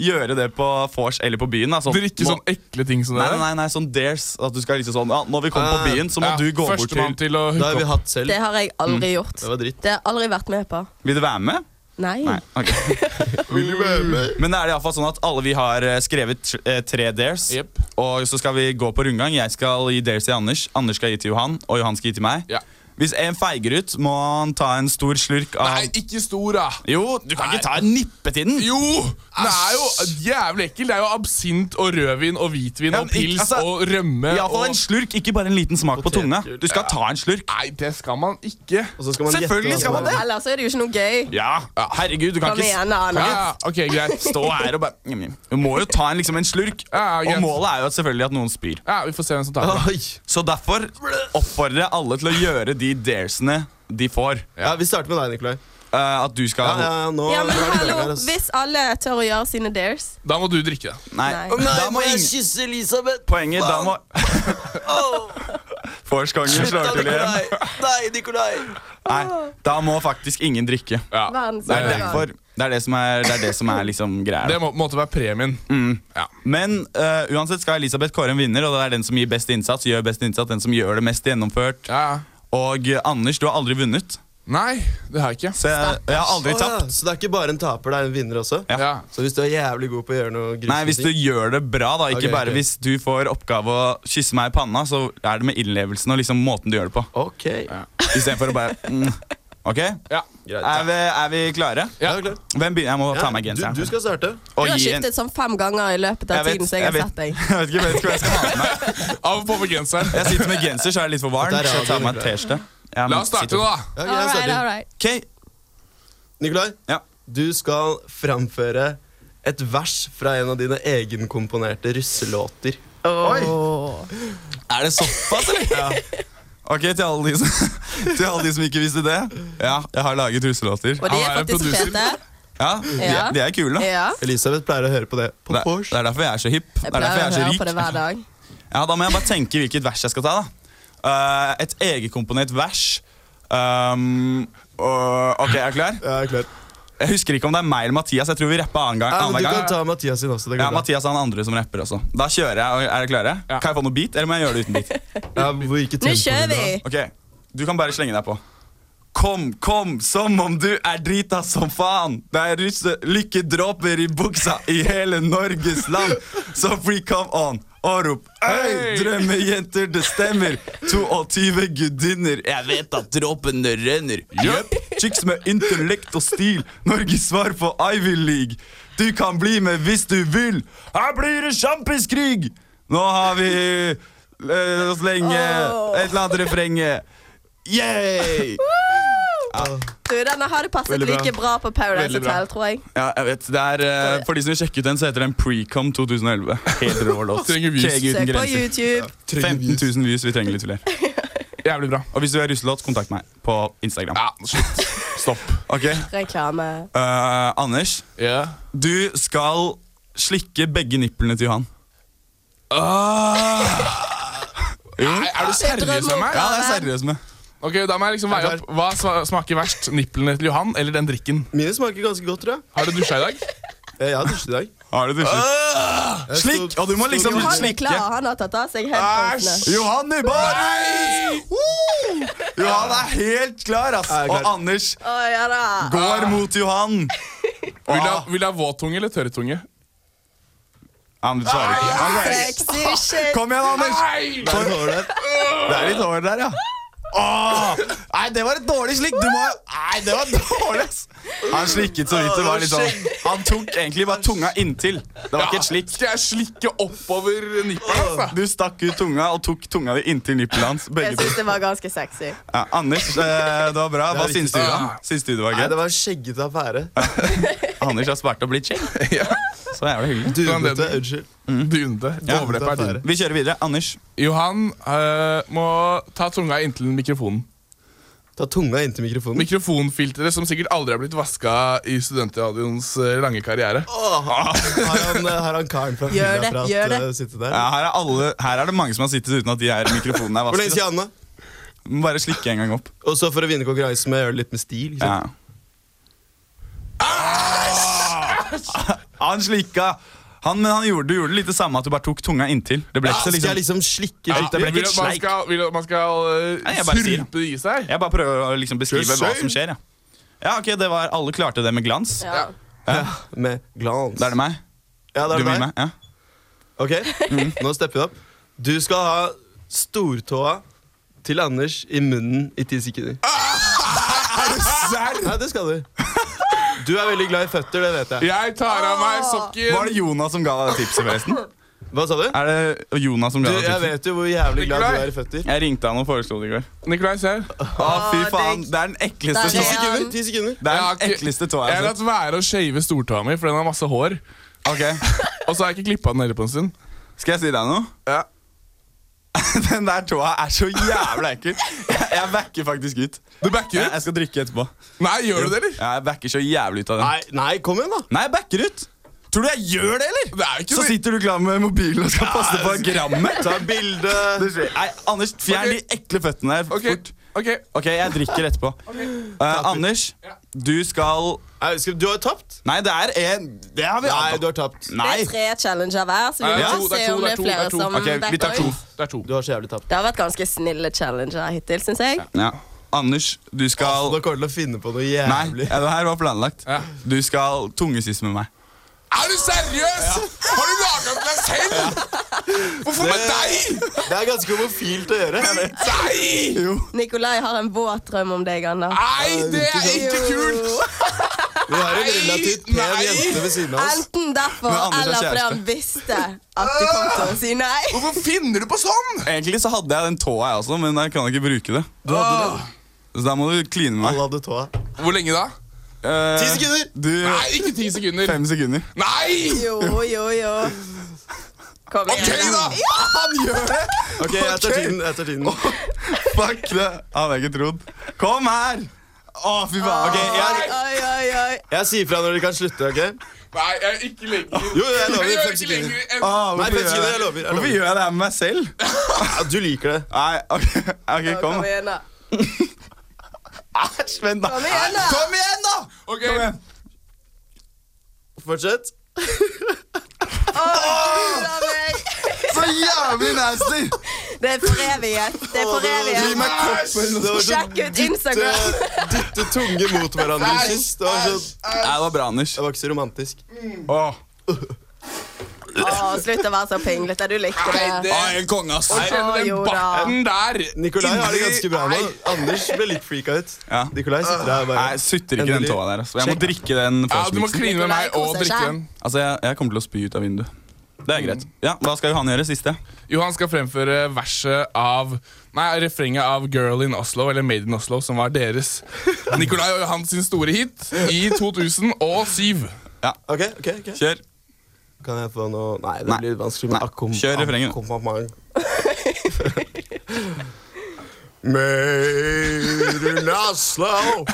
Speaker 3: gjøre det på vors eller på byen. da, sånn-
Speaker 5: Drikke
Speaker 3: må-
Speaker 5: sånn ekle ting som det
Speaker 3: Nei,
Speaker 5: der.
Speaker 3: nei, nei, sånn dares. At du skal liksom sånn ja, Når vi kommer på
Speaker 4: Ah,
Speaker 3: byen, så må
Speaker 5: Ja,
Speaker 3: du gå bort
Speaker 5: Førstemann
Speaker 3: til
Speaker 5: til å
Speaker 4: Det har
Speaker 5: hooke
Speaker 4: vi
Speaker 5: opp.
Speaker 4: hatt selv.
Speaker 13: Det har jeg
Speaker 3: Mm.
Speaker 13: aldri gjort.
Speaker 4: Det var dritt.
Speaker 13: Det har jeg aldri vært med på.
Speaker 3: Vil du være med?
Speaker 13: Nei.
Speaker 3: Nei. ok. Men da er det i hvert fall sånn at alle vi har eh, skrevet eh, tre dares.
Speaker 5: Jep.
Speaker 3: Og så skal vi gå på rundgang. Jeg skal gi dares til Anders, Anders skal gi til Johan, og Johan skal gi til meg.
Speaker 5: Ja.
Speaker 3: Hvis en feiger ut, må han ta en stor slurk av
Speaker 5: Nei, ikke stor, da!
Speaker 3: Jo, du kan ikke ta en nippe til den!
Speaker 5: Jo! Det er jo jævlig ekkelt. Det er jo absint og rødvin og hvitvin og pils
Speaker 3: altså,
Speaker 5: og rømme.
Speaker 3: Iallfall en
Speaker 5: og...
Speaker 3: slurk, ikke bare en liten smak på tunga. Du skal ta en slurk.
Speaker 5: Nei, det skal man ikke.
Speaker 3: Selvfølgelig skal man det!
Speaker 13: Ellers er det jo ikke noe gøy.
Speaker 3: Ja, herregud, du kan
Speaker 13: Kom
Speaker 3: ikke
Speaker 13: igjen, da, Anders.
Speaker 3: Ja, ja, ok, greit. Stå her og bare njam, njam. Du må jo ta en, liksom, en slurk. og målet er jo at selvfølgelig at noen spyr.
Speaker 5: Ja, vi får se hvem som tar det.
Speaker 3: Så derfor oppfordrer jeg alle til å gjøre de daresene de får. Ja,
Speaker 4: Vi starter med deg, Nikolai.
Speaker 3: at du skal
Speaker 13: Ja, men hallo, Hvis alle tør å gjøre sine dares
Speaker 5: Da må du drikke det.
Speaker 3: Nei, da må ingen
Speaker 13: kysse Elisabeth?
Speaker 3: Poenget, da må Forskongen slår til igjen.
Speaker 6: Nei, Nikolai.
Speaker 3: Nei, da må faktisk ingen drikke.
Speaker 6: Verdens
Speaker 3: Det er
Speaker 6: beste
Speaker 3: derfor det er det som er, det er, det som er liksom greia.
Speaker 5: Det må, måtte være premien.
Speaker 3: Mm. Men eh, uansett skal Elisabeth kåre en vinner, og det er den som gir best innsats. Gjør best innsats, den som gjør det mest gjennomført. Og eh, Anders, du har aldri vunnet.
Speaker 5: Nei, det har jeg ikke.
Speaker 3: Så jeg, jeg har aldri
Speaker 4: Å, ja.
Speaker 3: tapt.
Speaker 4: Så det er ikke bare en taper, det er en vinner også? Så hvis du er jævlig god på å gjøre noe
Speaker 3: Nei, hvis du gjør det bra, da. Ikke
Speaker 4: Ok,
Speaker 3: bare
Speaker 4: ok.
Speaker 3: hvis du får oppgave å kysse meg i panna, så er det med innlevelsen og liksom måten du gjør det på.
Speaker 4: Ok
Speaker 3: Istedenfor å bare mm. Ok? Er, vi, er vi klare? Hvem begynner? Jeg må ta av meg genseren.
Speaker 4: Du skal starte.
Speaker 13: Du
Speaker 3: Og gi
Speaker 13: har
Speaker 3: en-
Speaker 13: skiftet sånn fem ganger i løpet av
Speaker 3: Jeg vet-
Speaker 13: tiden som jeg har
Speaker 3: jeg
Speaker 13: sett
Speaker 3: Jeg
Speaker 13: deg.
Speaker 3: vet ikke, jeg vet ikke hva jeg skal ha med meg.
Speaker 5: Av og på med genseren.
Speaker 3: Jeg sitter med genser, så er jeg litt for varm.
Speaker 4: Dette er
Speaker 3: Så jeg tar med meg
Speaker 4: radio,
Speaker 3: T-skjorte. Jeg
Speaker 5: La
Speaker 3: må
Speaker 5: oss starte
Speaker 3: sitte-
Speaker 5: nå, da.
Speaker 4: Ja, ok, jeg starter.
Speaker 3: Ok.
Speaker 4: Nikolai,
Speaker 3: Ja.
Speaker 4: du skal framføre et vers fra en av dine egenkomponerte russelåter. Oi!
Speaker 3: Er det såpass, eller? Ok, til alle, de som, til alle de som ikke visste det. Ja, jeg har laget russelåter.
Speaker 13: Og de er faktisk fete.
Speaker 3: Ja, de,
Speaker 13: Ja.
Speaker 3: Er, de er kule, da.
Speaker 13: Ja.
Speaker 4: Elisabeth pleier å høre på det.
Speaker 3: Det, er- det er derfor jeg er så hipp. Det er
Speaker 13: Jeg
Speaker 3: derfor jeg
Speaker 13: pleier å
Speaker 3: er så
Speaker 13: høre på det
Speaker 3: rik.
Speaker 13: hver dag.
Speaker 3: Ja, Da må jeg bare tenke hvilket vers jeg skal ta. da. Eh, et egenkomponert vers. Um, og, ok, er du klar?
Speaker 4: Ja, jeg er klar.
Speaker 3: Jeg husker ikke om det er meg eller Mathias. Jeg tror vi rappa annen gang.
Speaker 4: Ja, men
Speaker 3: annenhver
Speaker 4: du
Speaker 3: gang.
Speaker 4: kan ta Mathias sin også. Det går
Speaker 3: oh Ja,
Speaker 4: bra.
Speaker 3: Mathias er den andre som rapper også. Da kjører jeg. Er dere klare? Kan jeg få noe beat, eller må jeg gjøre det uten beat?
Speaker 13: Nå kjører vi!
Speaker 3: Ok, Du kan bare slenge deg på. Kom, kom, som om du er drita som faen. Det er russe lykkedråper i buksa i hele Norges land. Så free come on og rop øy! Drømmejenter, det stemmer. 22 gudinner. Jeg vet at dråpene renner. Jøpp. Chicks med intellekt og stil. Norges svar på Ivy League. Du kan bli med hvis du vil. Her blir det sjampiskrig! Nå har vi La oss lenge et eller annet refrenget. Yay!
Speaker 13: Du, denne hadde passet
Speaker 3: Veldig bra.
Speaker 13: like bra på Paradise
Speaker 3: Veldig bra.
Speaker 13: Hotel, tror jeg.
Speaker 3: Ja, jeg vet. Det er, eh, for de som vil sjekke ut den, så heter den Precom 2011. Helt rå låt.
Speaker 5: Trenger views.
Speaker 3: Keg uten
Speaker 13: Søk på
Speaker 3: grenser.
Speaker 13: YouTube.
Speaker 3: 15 000 views. Vi trenger litt flere.
Speaker 5: Jævlig bra.
Speaker 3: Og hvis du er russelåt, kontakt meg på Instagram.
Speaker 5: Ja, slutt. Stopp.
Speaker 3: Ok,
Speaker 13: Reklame.
Speaker 3: eh, Anders. Du skal slikke begge nipplene til Johan. Jo.
Speaker 5: Nei, er du seriøs med meg?
Speaker 3: Ja, det er jeg seriøs med.
Speaker 5: Ok, Da må jeg liksom veie opp. Hva sma- smaker verst? Nipplene til Johan eller den drikken?
Speaker 4: Mine smaker ganske godt, tror jeg. Eh,
Speaker 5: Har du dusja i dag?
Speaker 4: Jeg har dusjet i dag.
Speaker 3: Har du dusjet? Slikk! Og du må liksom
Speaker 13: Johan er
Speaker 3: slikke.
Speaker 13: klar. Han har tatt av seg headphonesene.
Speaker 3: Johan i baren! Johan er helt klar, ass.
Speaker 13: Jeg er
Speaker 3: Og
Speaker 13: klar.
Speaker 3: Anders
Speaker 13: Å, ja da.
Speaker 3: går mot Johan.
Speaker 5: Vil du ha- vil du ha våttunge eller tørrtunge?
Speaker 3: Han svarer ikke. Han svarer ikke.
Speaker 13: Sexy shit.
Speaker 3: Kom igjen, Anders.
Speaker 5: Nei!
Speaker 3: For- Det er litt hår der, ja. Åh, nei, det var et dårlig slikk. Du må Nei, det var dårlig, ass. Han slikket så vidt. Det var litt sånn Han tok egentlig bare tunga inntil. Det var ikke et slikk.
Speaker 5: Skal jeg slikke oppover nippelen? Altså?
Speaker 3: Du stakk ut tunga og tok tunga di inntil nippelen hans. Begge
Speaker 13: Jeg
Speaker 3: to.
Speaker 13: syns det var ganske sexy.
Speaker 3: Ja, Anders, eh, det var bra.
Speaker 4: Det er
Speaker 3: Hva syns du,
Speaker 4: viktig.
Speaker 3: da? Syns du det var
Speaker 4: Nei,
Speaker 3: greit?
Speaker 4: det var en skjeggete affære.
Speaker 3: Anders har spart opp litt skjegg. Så jævla hyggelig.
Speaker 4: Dunete. Unnskyld.
Speaker 5: Mm. Dunete.
Speaker 3: Ja.
Speaker 5: Overleppa er din.
Speaker 3: Vi kjører videre. Anders.
Speaker 5: Johan eh, må ta tunga inntil mikrofonen.
Speaker 3: Mm.
Speaker 4: Ta tunga inntil mikrofonen.
Speaker 5: Mikrofonfilteret som sikkert aldri har blitt vaska i studentradioens eh, lange karriere.
Speaker 4: Åh, har, han, eh, har han karen fra
Speaker 13: Gjør det,
Speaker 4: Filaprat,
Speaker 13: gjør det.
Speaker 4: eh, sittet der?
Speaker 3: Ja, her, er alle, her er det mange som har sittet uten at de er mikrofonen er
Speaker 4: Hvor
Speaker 3: vasket.
Speaker 4: lenge skal han da?
Speaker 3: Må Bare slikke en gang opp.
Speaker 4: Og så for å vinne konkurransen med å gjøre det litt med stil. liksom. Ikke
Speaker 3: Ja.
Speaker 4: sant?
Speaker 3: Ah! Han slikka. Han, men han gjorde, du gjorde litt det samme, at du bare tok tunga inntil. Det ble ikke så
Speaker 4: Skal jeg
Speaker 3: liksom
Speaker 4: liksom slikke
Speaker 5: Ja,
Speaker 4: litt?
Speaker 3: det ble
Speaker 5: vil
Speaker 3: ikke
Speaker 5: at man
Speaker 3: sleik.
Speaker 5: skal, vil at man skal eh,
Speaker 3: Nei, jeg bare sier det.
Speaker 5: surpe det i seg?
Speaker 3: Jeg bare prøver å liksom beskrive hva som skjer, ja. Ja, ok, det var Alle klarte det med glans.
Speaker 13: Ja.
Speaker 4: Med glans.
Speaker 3: Da er det meg.
Speaker 4: Ja, da
Speaker 3: Du Mm.
Speaker 4: er det
Speaker 3: blir med.
Speaker 4: meg.
Speaker 3: Ja.
Speaker 4: Ok, nå stepper vi opp. Du skal ha stortåa til Anders i munnen i ti sekunder.
Speaker 3: Ah! Er du sær?
Speaker 4: Nei, det skal du. Du er veldig glad i føtter, det vet jeg.
Speaker 5: Jeg tar av meg sokken.
Speaker 3: Var det Jonas som ga deg det tipset, forresten?
Speaker 4: Hva sa du?
Speaker 3: Er det Jonas som
Speaker 4: Du,
Speaker 3: ga deg
Speaker 4: jeg
Speaker 3: tipset?
Speaker 4: vet jo hvor jævlig glad du
Speaker 3: Nikolai.
Speaker 4: er i føtter.
Speaker 3: Jeg ringte han og foreslo det i går.
Speaker 5: Nikolai, se her.
Speaker 3: Å, fy faen. Det er den ekleste
Speaker 4: Ti
Speaker 3: tåa.
Speaker 4: sekunder. ti sekunder.
Speaker 3: Det er den ekleste tåa
Speaker 5: Jeg
Speaker 3: jeg
Speaker 5: har
Speaker 3: har
Speaker 5: latt
Speaker 3: sett.
Speaker 5: være å shave stortåa mi, for den har masse hår.
Speaker 3: Ok.
Speaker 5: Og så har jeg ikke klippa den heller på en stund.
Speaker 3: Skal jeg si deg noe?
Speaker 5: Ja.
Speaker 3: Den der tåa er så jævla ekkel. Jeg, jeg backer faktisk ut.
Speaker 5: Du backer ut?
Speaker 3: Jeg, jeg skal drikke etterpå.
Speaker 5: Nei, gjør du det, eller?
Speaker 3: Ja, jeg backer så jævlig ut av den.
Speaker 4: Nei, nei, kom igjen, da.
Speaker 3: Nei, jeg backer ut. Tror du jeg gjør det, eller?
Speaker 5: Det er jo ikke
Speaker 3: Så
Speaker 5: noe-
Speaker 3: sitter du klar med mobilen og skal passe på grammet.
Speaker 4: Ta bilde.
Speaker 3: Det skjer. Nei, Anders, fjern
Speaker 5: altså. Ok.
Speaker 3: de ekle føttene her
Speaker 5: Ok,
Speaker 3: fort.
Speaker 5: ok
Speaker 3: Ok, jeg drikker etterpå. Eh, Anders, du skal
Speaker 4: Nei, skal, du har tapt.
Speaker 3: Nei, det er en Det har vi
Speaker 4: Nei,
Speaker 3: hatt.
Speaker 4: du har tapt.
Speaker 3: Nei.
Speaker 13: Det er tre challenger hver, så vi
Speaker 5: Nei,
Speaker 13: må
Speaker 5: det er
Speaker 13: ikke
Speaker 5: to, det er
Speaker 13: se
Speaker 5: to,
Speaker 13: om
Speaker 5: det
Speaker 13: det
Speaker 5: er
Speaker 13: er
Speaker 5: to,
Speaker 13: flere
Speaker 5: det er to.
Speaker 13: som
Speaker 3: Ok, vi tar
Speaker 13: backer
Speaker 3: to.
Speaker 13: ut.
Speaker 5: Det er to.
Speaker 4: Du har så jævlig tapt.
Speaker 13: Det har vært ganske snille challenger hittil, syns jeg.
Speaker 3: Ja. Anders, du
Speaker 4: Altså,
Speaker 3: skal
Speaker 4: nå kommer du til å finne på noe
Speaker 3: Nei,
Speaker 4: jævlig.
Speaker 3: ja, det her var planlagt.
Speaker 5: Ja.
Speaker 3: Du skal tungesys med meg.
Speaker 5: Er du seriøs?! Har du laga den deg selv?! Hvorfor med deg?!
Speaker 4: Det er ganske homofilt å gjøre.
Speaker 5: Deg?!
Speaker 13: Nikolai har en våt drøm om deg, Anders.
Speaker 5: Nei, det er ikke kult!
Speaker 4: Vi har en relativt pen
Speaker 5: Nei.
Speaker 4: jente ved siden av oss.
Speaker 13: Enten derfor
Speaker 3: Men Anders er
Speaker 13: eller fordi han visste at du kom til å si nei.
Speaker 5: Hvorfor finner du på sånn?!
Speaker 3: Egentlig så hadde jeg den tåa, jeg også, men jeg kan ikke bruke det. Så da må du kline med meg.
Speaker 4: Alle hadde tåa.
Speaker 5: Hvor lenge da?
Speaker 3: Eh,
Speaker 4: Ti sekunder!
Speaker 3: Du,
Speaker 5: Nei, ikke ti sekunder.
Speaker 3: Fem sekunder.
Speaker 5: Nei!
Speaker 13: Jo, jo, jo. Kom
Speaker 5: Ok, da!
Speaker 3: Han gjør det!
Speaker 4: Ok, jeg tar tiden. Jeg tar tiden.
Speaker 3: Fuck det. Hadde jeg ikke trodd. Kom her! Å, fy faen. Ok,
Speaker 13: Oi,
Speaker 4: Ah,
Speaker 3: jeg,
Speaker 13: oi, oi, oi.
Speaker 4: Jeg sier fra når de kan slutte. ok?
Speaker 5: Nei, jeg er ikke lenger.
Speaker 4: Jo, jeg lover,
Speaker 5: Jeg gjør
Speaker 4: fem
Speaker 5: ikke
Speaker 4: sekunder.
Speaker 5: lenger enn-
Speaker 3: Å, Ah, hvorfor
Speaker 4: Nei, fem
Speaker 3: gjør
Speaker 4: sekunder,
Speaker 3: det?
Speaker 4: jeg lover, jeg
Speaker 3: Hvorfor
Speaker 4: lover.
Speaker 3: gjør jeg det her med meg selv?
Speaker 4: Ja, Du liker det.
Speaker 3: Nei, ok, ok,
Speaker 13: Kom,
Speaker 3: kom. da.
Speaker 13: igjen, da.
Speaker 3: Æsj, vent, da.
Speaker 13: Kom igjen, da.
Speaker 3: Kom igjen, da!
Speaker 5: Ok,
Speaker 3: Kom igjen.
Speaker 4: Fortsett.
Speaker 13: Ta meg.
Speaker 3: Så jævlig nasty!
Speaker 13: Det er for eviget. Det er for
Speaker 4: Gi meg
Speaker 13: eviget.
Speaker 4: koppen. Det var så
Speaker 13: Sjekk ut Instagram.
Speaker 4: dytte, dytte tunge mot hverandre sist. Det var, så,
Speaker 3: Nei, det var bra, Anders.
Speaker 4: det var ikke så romantisk.
Speaker 3: Åh.
Speaker 13: Å, slutt å være så pinglete. Du likte det.
Speaker 3: Å, helt konge, ass.
Speaker 5: Jeg kjenner
Speaker 13: Å,
Speaker 5: den
Speaker 13: jo da.
Speaker 5: barten der.
Speaker 4: Nikolai har det
Speaker 5: Inni-
Speaker 4: ganske bra nå.
Speaker 5: Nei.
Speaker 4: Anders ble litt freaka ut.
Speaker 3: Ja.
Speaker 4: Nikolai sitter der og bare
Speaker 3: Nei, jeg sutter ikke den
Speaker 4: Endelig.
Speaker 3: tåa der. Altså. Jeg må drikke den
Speaker 5: Ja, du må
Speaker 3: frostmixen.
Speaker 5: kline med meg og drikke den.
Speaker 3: Altså, jeg, jeg kommer til å spy ut av vinduet. Det er greit. Ja, Hva skal Johan gjøre? Siste?
Speaker 5: Johan skal fremføre verset av Nei, refrenget av Girl in Oslo, eller Made in Oslo, som var deres. Nikolai og Johan sin store hit i 2007.
Speaker 4: Ok, ok, ok
Speaker 3: Kjør.
Speaker 4: Kan jeg få noe Nei, det
Speaker 3: Nei.
Speaker 4: blir vanskelig med
Speaker 3: Nei,
Speaker 4: akkom...
Speaker 3: kjør refrenget.
Speaker 4: akkompagnement. Made in Oslo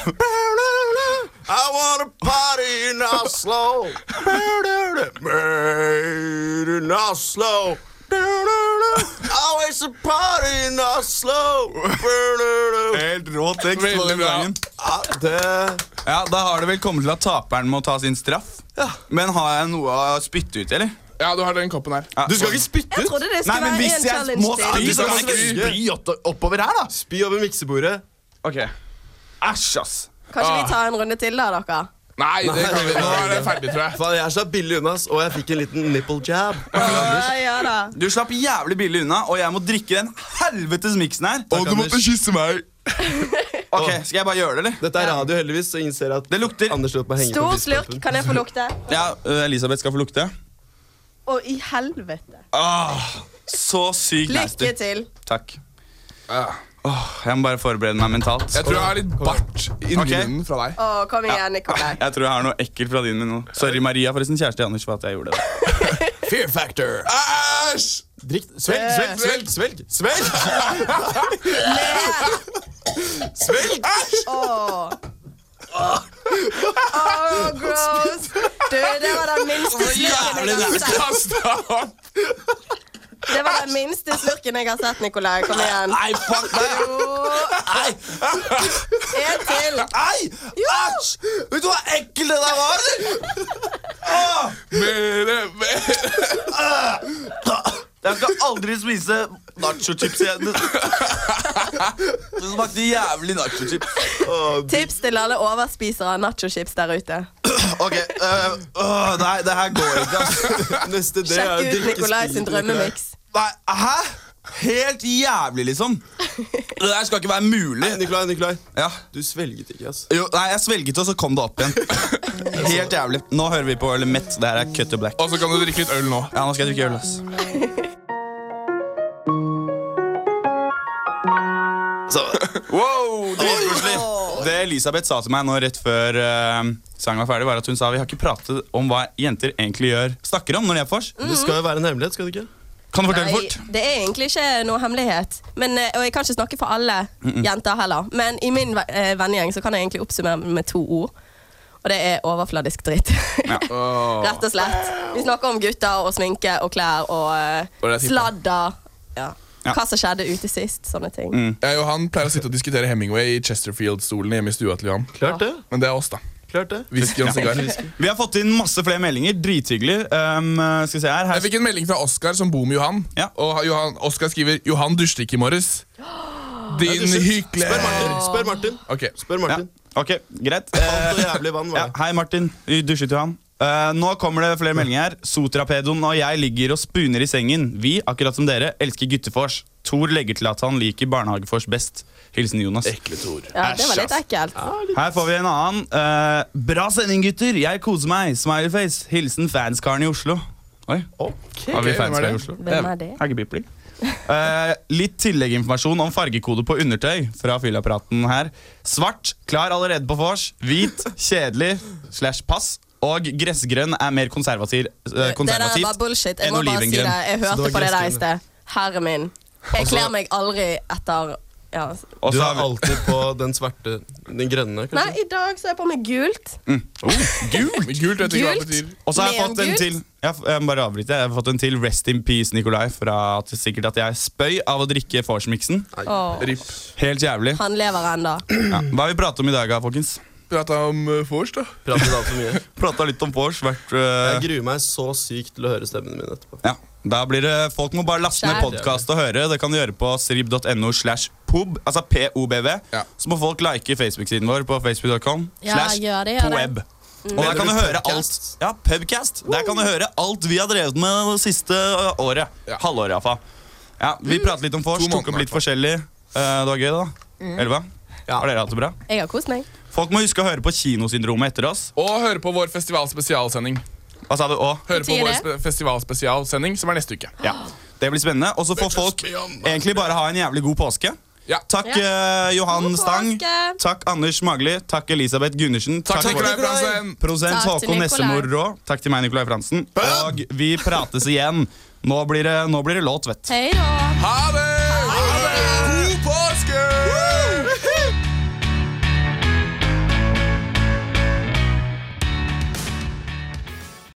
Speaker 4: I wanna party in Oslo Made in Oslo Always a party in Oslo
Speaker 3: Helt rå tekst.
Speaker 5: på den sangen.
Speaker 4: ja, Det
Speaker 3: Ja, Da har det vel kommet til at taperen må ta sin straff. Men har jeg noe å spytte ut, eller?
Speaker 5: Ja, du har den koppen her.
Speaker 3: Ja.
Speaker 4: Du skal ikke spytte
Speaker 13: Jeg
Speaker 4: ut!
Speaker 13: trodde det
Speaker 3: Nei,
Speaker 13: skulle
Speaker 3: men
Speaker 13: være
Speaker 3: hvis
Speaker 13: en
Speaker 3: jeg må
Speaker 13: challenge
Speaker 3: spy,
Speaker 13: til.
Speaker 3: så må
Speaker 4: skal
Speaker 3: jeg
Speaker 4: ikke
Speaker 3: spy opp- oppover her, da.
Speaker 4: Spy over miksebordet.
Speaker 3: Ok. Æsj, ass.
Speaker 13: Kanskje
Speaker 3: Ah.
Speaker 13: vi tar en runde til, da, dere?
Speaker 5: Nei, det kan vi. nå er det ferdig, tror jeg.
Speaker 4: Faen, jeg er så billig unna, ass, og jeg fikk en liten nipple jab.
Speaker 13: Ja, ja da.
Speaker 3: Du slapp jævlig billig unna, og jeg må drikke den helvetes miksen her.
Speaker 4: Takk, Anders.
Speaker 5: kysse meg.
Speaker 3: Ok, Skal jeg bare gjøre det, eller?
Speaker 4: Dette er radio, heldigvis, så ingen ser at
Speaker 3: Det lukter
Speaker 4: Anders lot meg henge
Speaker 13: Stor
Speaker 4: på
Speaker 13: slurk.
Speaker 4: biskopen.
Speaker 13: Kan jeg få lukte?
Speaker 3: Ja, øh, Elisabeth skal få lukte.
Speaker 13: Å, i helvete.
Speaker 3: Ah, så sykt nasty.
Speaker 13: Lykke til.
Speaker 3: Takk. Ah. Åh, jeg må bare forberede meg mentalt.
Speaker 5: Jeg tror jeg har litt bart inni
Speaker 3: Ok.
Speaker 5: munnen fra deg.
Speaker 13: Å, kom igjen, Nikolai.
Speaker 3: Jeg tror jeg har noe ekkelt fra din min nå. Sorry, Maria, forresten. Kjæreste Anders, for at jeg gjorde det.
Speaker 4: Fear factor.
Speaker 5: Æsj!
Speaker 4: Drikk. Svelg, svelg, svelg,
Speaker 5: Eh,
Speaker 4: svelg. Svelg! svelg.
Speaker 13: Åh. Åh, gross. Du, det var den minste slurken jeg har sett.
Speaker 5: Kasta opp.
Speaker 13: Det var den minste slurken jeg har sett, Nikolai. Kom igjen.
Speaker 3: Nei, fuck deg!
Speaker 13: En til.
Speaker 3: Nei! Æsj! Vet du hva ekkel det der var? eller? Ah. eh,
Speaker 5: Mere, mere.
Speaker 3: Jeg skal aldri spise nachochips igjen. Det smakte jævlig nachochips.
Speaker 13: Tips til alle overspisere av nachochips der ute.
Speaker 3: Ok, øh, øh, nei, det her går ikke, ass.
Speaker 4: Neste det er å
Speaker 13: Sjekk ut
Speaker 4: drikke
Speaker 13: Nikolai
Speaker 4: sprit,
Speaker 13: sin
Speaker 4: Nikolai.
Speaker 13: drømmemiks.
Speaker 3: Nei, hæ? Helt jævlig, liksom. Det der skal ikke være mulig. Nei,
Speaker 4: Nikolai, Nikolai.
Speaker 3: Ja.
Speaker 4: Eh, Du svelget ikke, ass.
Speaker 3: Jo, nei, jeg svelget, og så kom det opp igjen. Helt jævlig. Nå hører vi på Øl Mett. Det her er Cut to Black.
Speaker 5: Og så kan du drikke litt øl nå.
Speaker 3: Ja, nå skal jeg drikke øl, ass. Så, wow, dritkoselig. Det Elisabeth sa til meg nå rett før eh, sangen var ferdig, var at hun sa vi har ikke pratet om hva jenter egentlig gjør snakker om når de er på vors.
Speaker 13: Det skal jo
Speaker 4: være en hemmelighet, Mm. skal det ikke?
Speaker 3: Kan du fortelle
Speaker 13: Nei,
Speaker 3: fort?
Speaker 13: Det er egentlig ikke noe hemmelighet. Men, eh, og jeg kan ikke snakke for alle
Speaker 3: Mm-mm.
Speaker 13: jenter heller. Men i min ve- eh, vennegjeng så kan jeg egentlig oppsummere med to ord. Og det er overfladisk dritt. Rett og slett. Vi snakker om gutter og sminke og klær og eh,
Speaker 5: Og det er tippa.
Speaker 13: sladder. Ja.
Speaker 5: Ja. Mm.
Speaker 13: Hva som skjedde ute sist. Sånne ting.
Speaker 5: Jeg og han pleier å sitte og diskutere Hemingway i Chesterfield-stolen hjemme i stua til Johan.
Speaker 4: Klart det.
Speaker 5: Men det er oss, da.
Speaker 4: Klart det.
Speaker 5: Whisky og en sigar.
Speaker 3: Vi har fått inn masse flere meldinger. Drithyggelig. Um, skal vi se her.
Speaker 5: Jeg fikk en melding fra Oskar som bor med Johan. Og han- Johan, Oskar skriver 'Johan dusjer ikke i morges'. Din
Speaker 4: Spør
Speaker 5: hykler.
Speaker 4: Martin. Spør Martin.
Speaker 5: Ok.
Speaker 4: Spør Martin.
Speaker 3: Ok, greit. Eh, ja, hei, Martin. Vi Dusjet jo han. Eh, nå kommer det flere meldinger her. Sotrapedoen og jeg ligger og spuner i sengen. Vi, akkurat som dere, elsker guttefors. Tor legger til at han liker barnehagefors best. Hilsen Jonas. Ekle Tor.
Speaker 13: Ja, det var litt ekkelt.
Speaker 3: Her får vi en annen. Eh, bra sending, gutter. Jeg koser meg. Smileyface. Hilsen fanskaren i Oslo. Oi. Har vi
Speaker 5: Ok, hvem er
Speaker 3: fanskaren i
Speaker 5: det?
Speaker 3: Oslo?
Speaker 5: Hvem er det?
Speaker 3: Eh, Hagge Pipling. Eh, litt tillegginformasjon om fargekode på undertøy fra fyllapparaten her. Svart, klar allerede på vors. Hvit, kjedelig, slash pass. Og gressgrønn er mer konservativ, eh,
Speaker 13: Det der var
Speaker 3: konservativt
Speaker 13: bullshit. Jeg
Speaker 3: enn
Speaker 13: må bare si det.
Speaker 3: olivengrønn.
Speaker 13: Jeg hørte på det der i sted. Herre min. Jeg
Speaker 4: Altså-
Speaker 13: kler meg aldri etter ja.
Speaker 4: Du er alltid på den svarte Den grønne, kanskje?
Speaker 13: Nei, i dag så er jeg på meg gult.
Speaker 5: Gult! Gult,
Speaker 13: jeg ikke hva det Gult. betyr.
Speaker 3: Og så har jeg fått en
Speaker 13: Neongult.
Speaker 3: til. Jeg, f- jeg må bare avbryte. Jeg har fått en til Rest in peace, Nikolai. Fra at, sikkert at jeg spøy av å drikke vorsmiksen.
Speaker 13: Åh.
Speaker 3: Helt jævlig.
Speaker 13: Han lever ennå.
Speaker 3: Ja. Hva har vi pratet om i dag, da, folkens?
Speaker 5: Prata om uh, vors, da.
Speaker 4: Pratet altfor mye.
Speaker 3: Prata litt om vors. Vært
Speaker 4: Jeg gruer meg så sykt til å høre stemmene mine etterpå.
Speaker 3: Ja. Da blir det, Folk må bare laste ned
Speaker 4: Skjær.
Speaker 3: podkast og høre. Det kan du gjøre på srib.no slash pob. Altså pobv. Så må folk like Facebook-siden vår på facebook.com.
Speaker 13: Ja,
Speaker 3: slash
Speaker 13: gjør det, gjør det. Mm.
Speaker 3: poeb. Og der kan du høre alt Ja, pubcast. Der kan du høre alt vi har drevet med det siste ø, året. Halvåret, iallfall. Ja, vi pratet litt om vors, tok opp litt forskjellig. Eh, det var gøy, da.
Speaker 13: Mm.
Speaker 3: Elva? Har dere hatt det bra?
Speaker 13: Jeg har kost meg.
Speaker 3: Folk må huske å høre på Kinosyndromet etter oss.
Speaker 5: Og høre på vår festivalspesialsending.
Speaker 3: Hva sa du òg?
Speaker 5: Høre på
Speaker 3: Betyr
Speaker 5: vår
Speaker 3: det?
Speaker 5: spe- festivalspesialsending, som er neste uke.
Speaker 3: Ja. Det blir spennende. Og så får folk egentlig bare ha en jævlig god påske. Takk eh, Johan Stang. Takk Anders Magli. Takk Elisabeth Gundersen.
Speaker 5: Takk til Nikolai Fransen.
Speaker 3: Prosent
Speaker 5: Takk til
Speaker 3: Håkon
Speaker 5: Nikolai.
Speaker 3: Nessemor Rå. Takk til meg, Nikolai Fransen. Og vi prates igjen. Nå blir det, nå blir det låt, vet du.
Speaker 13: Hei da.
Speaker 5: Ha det!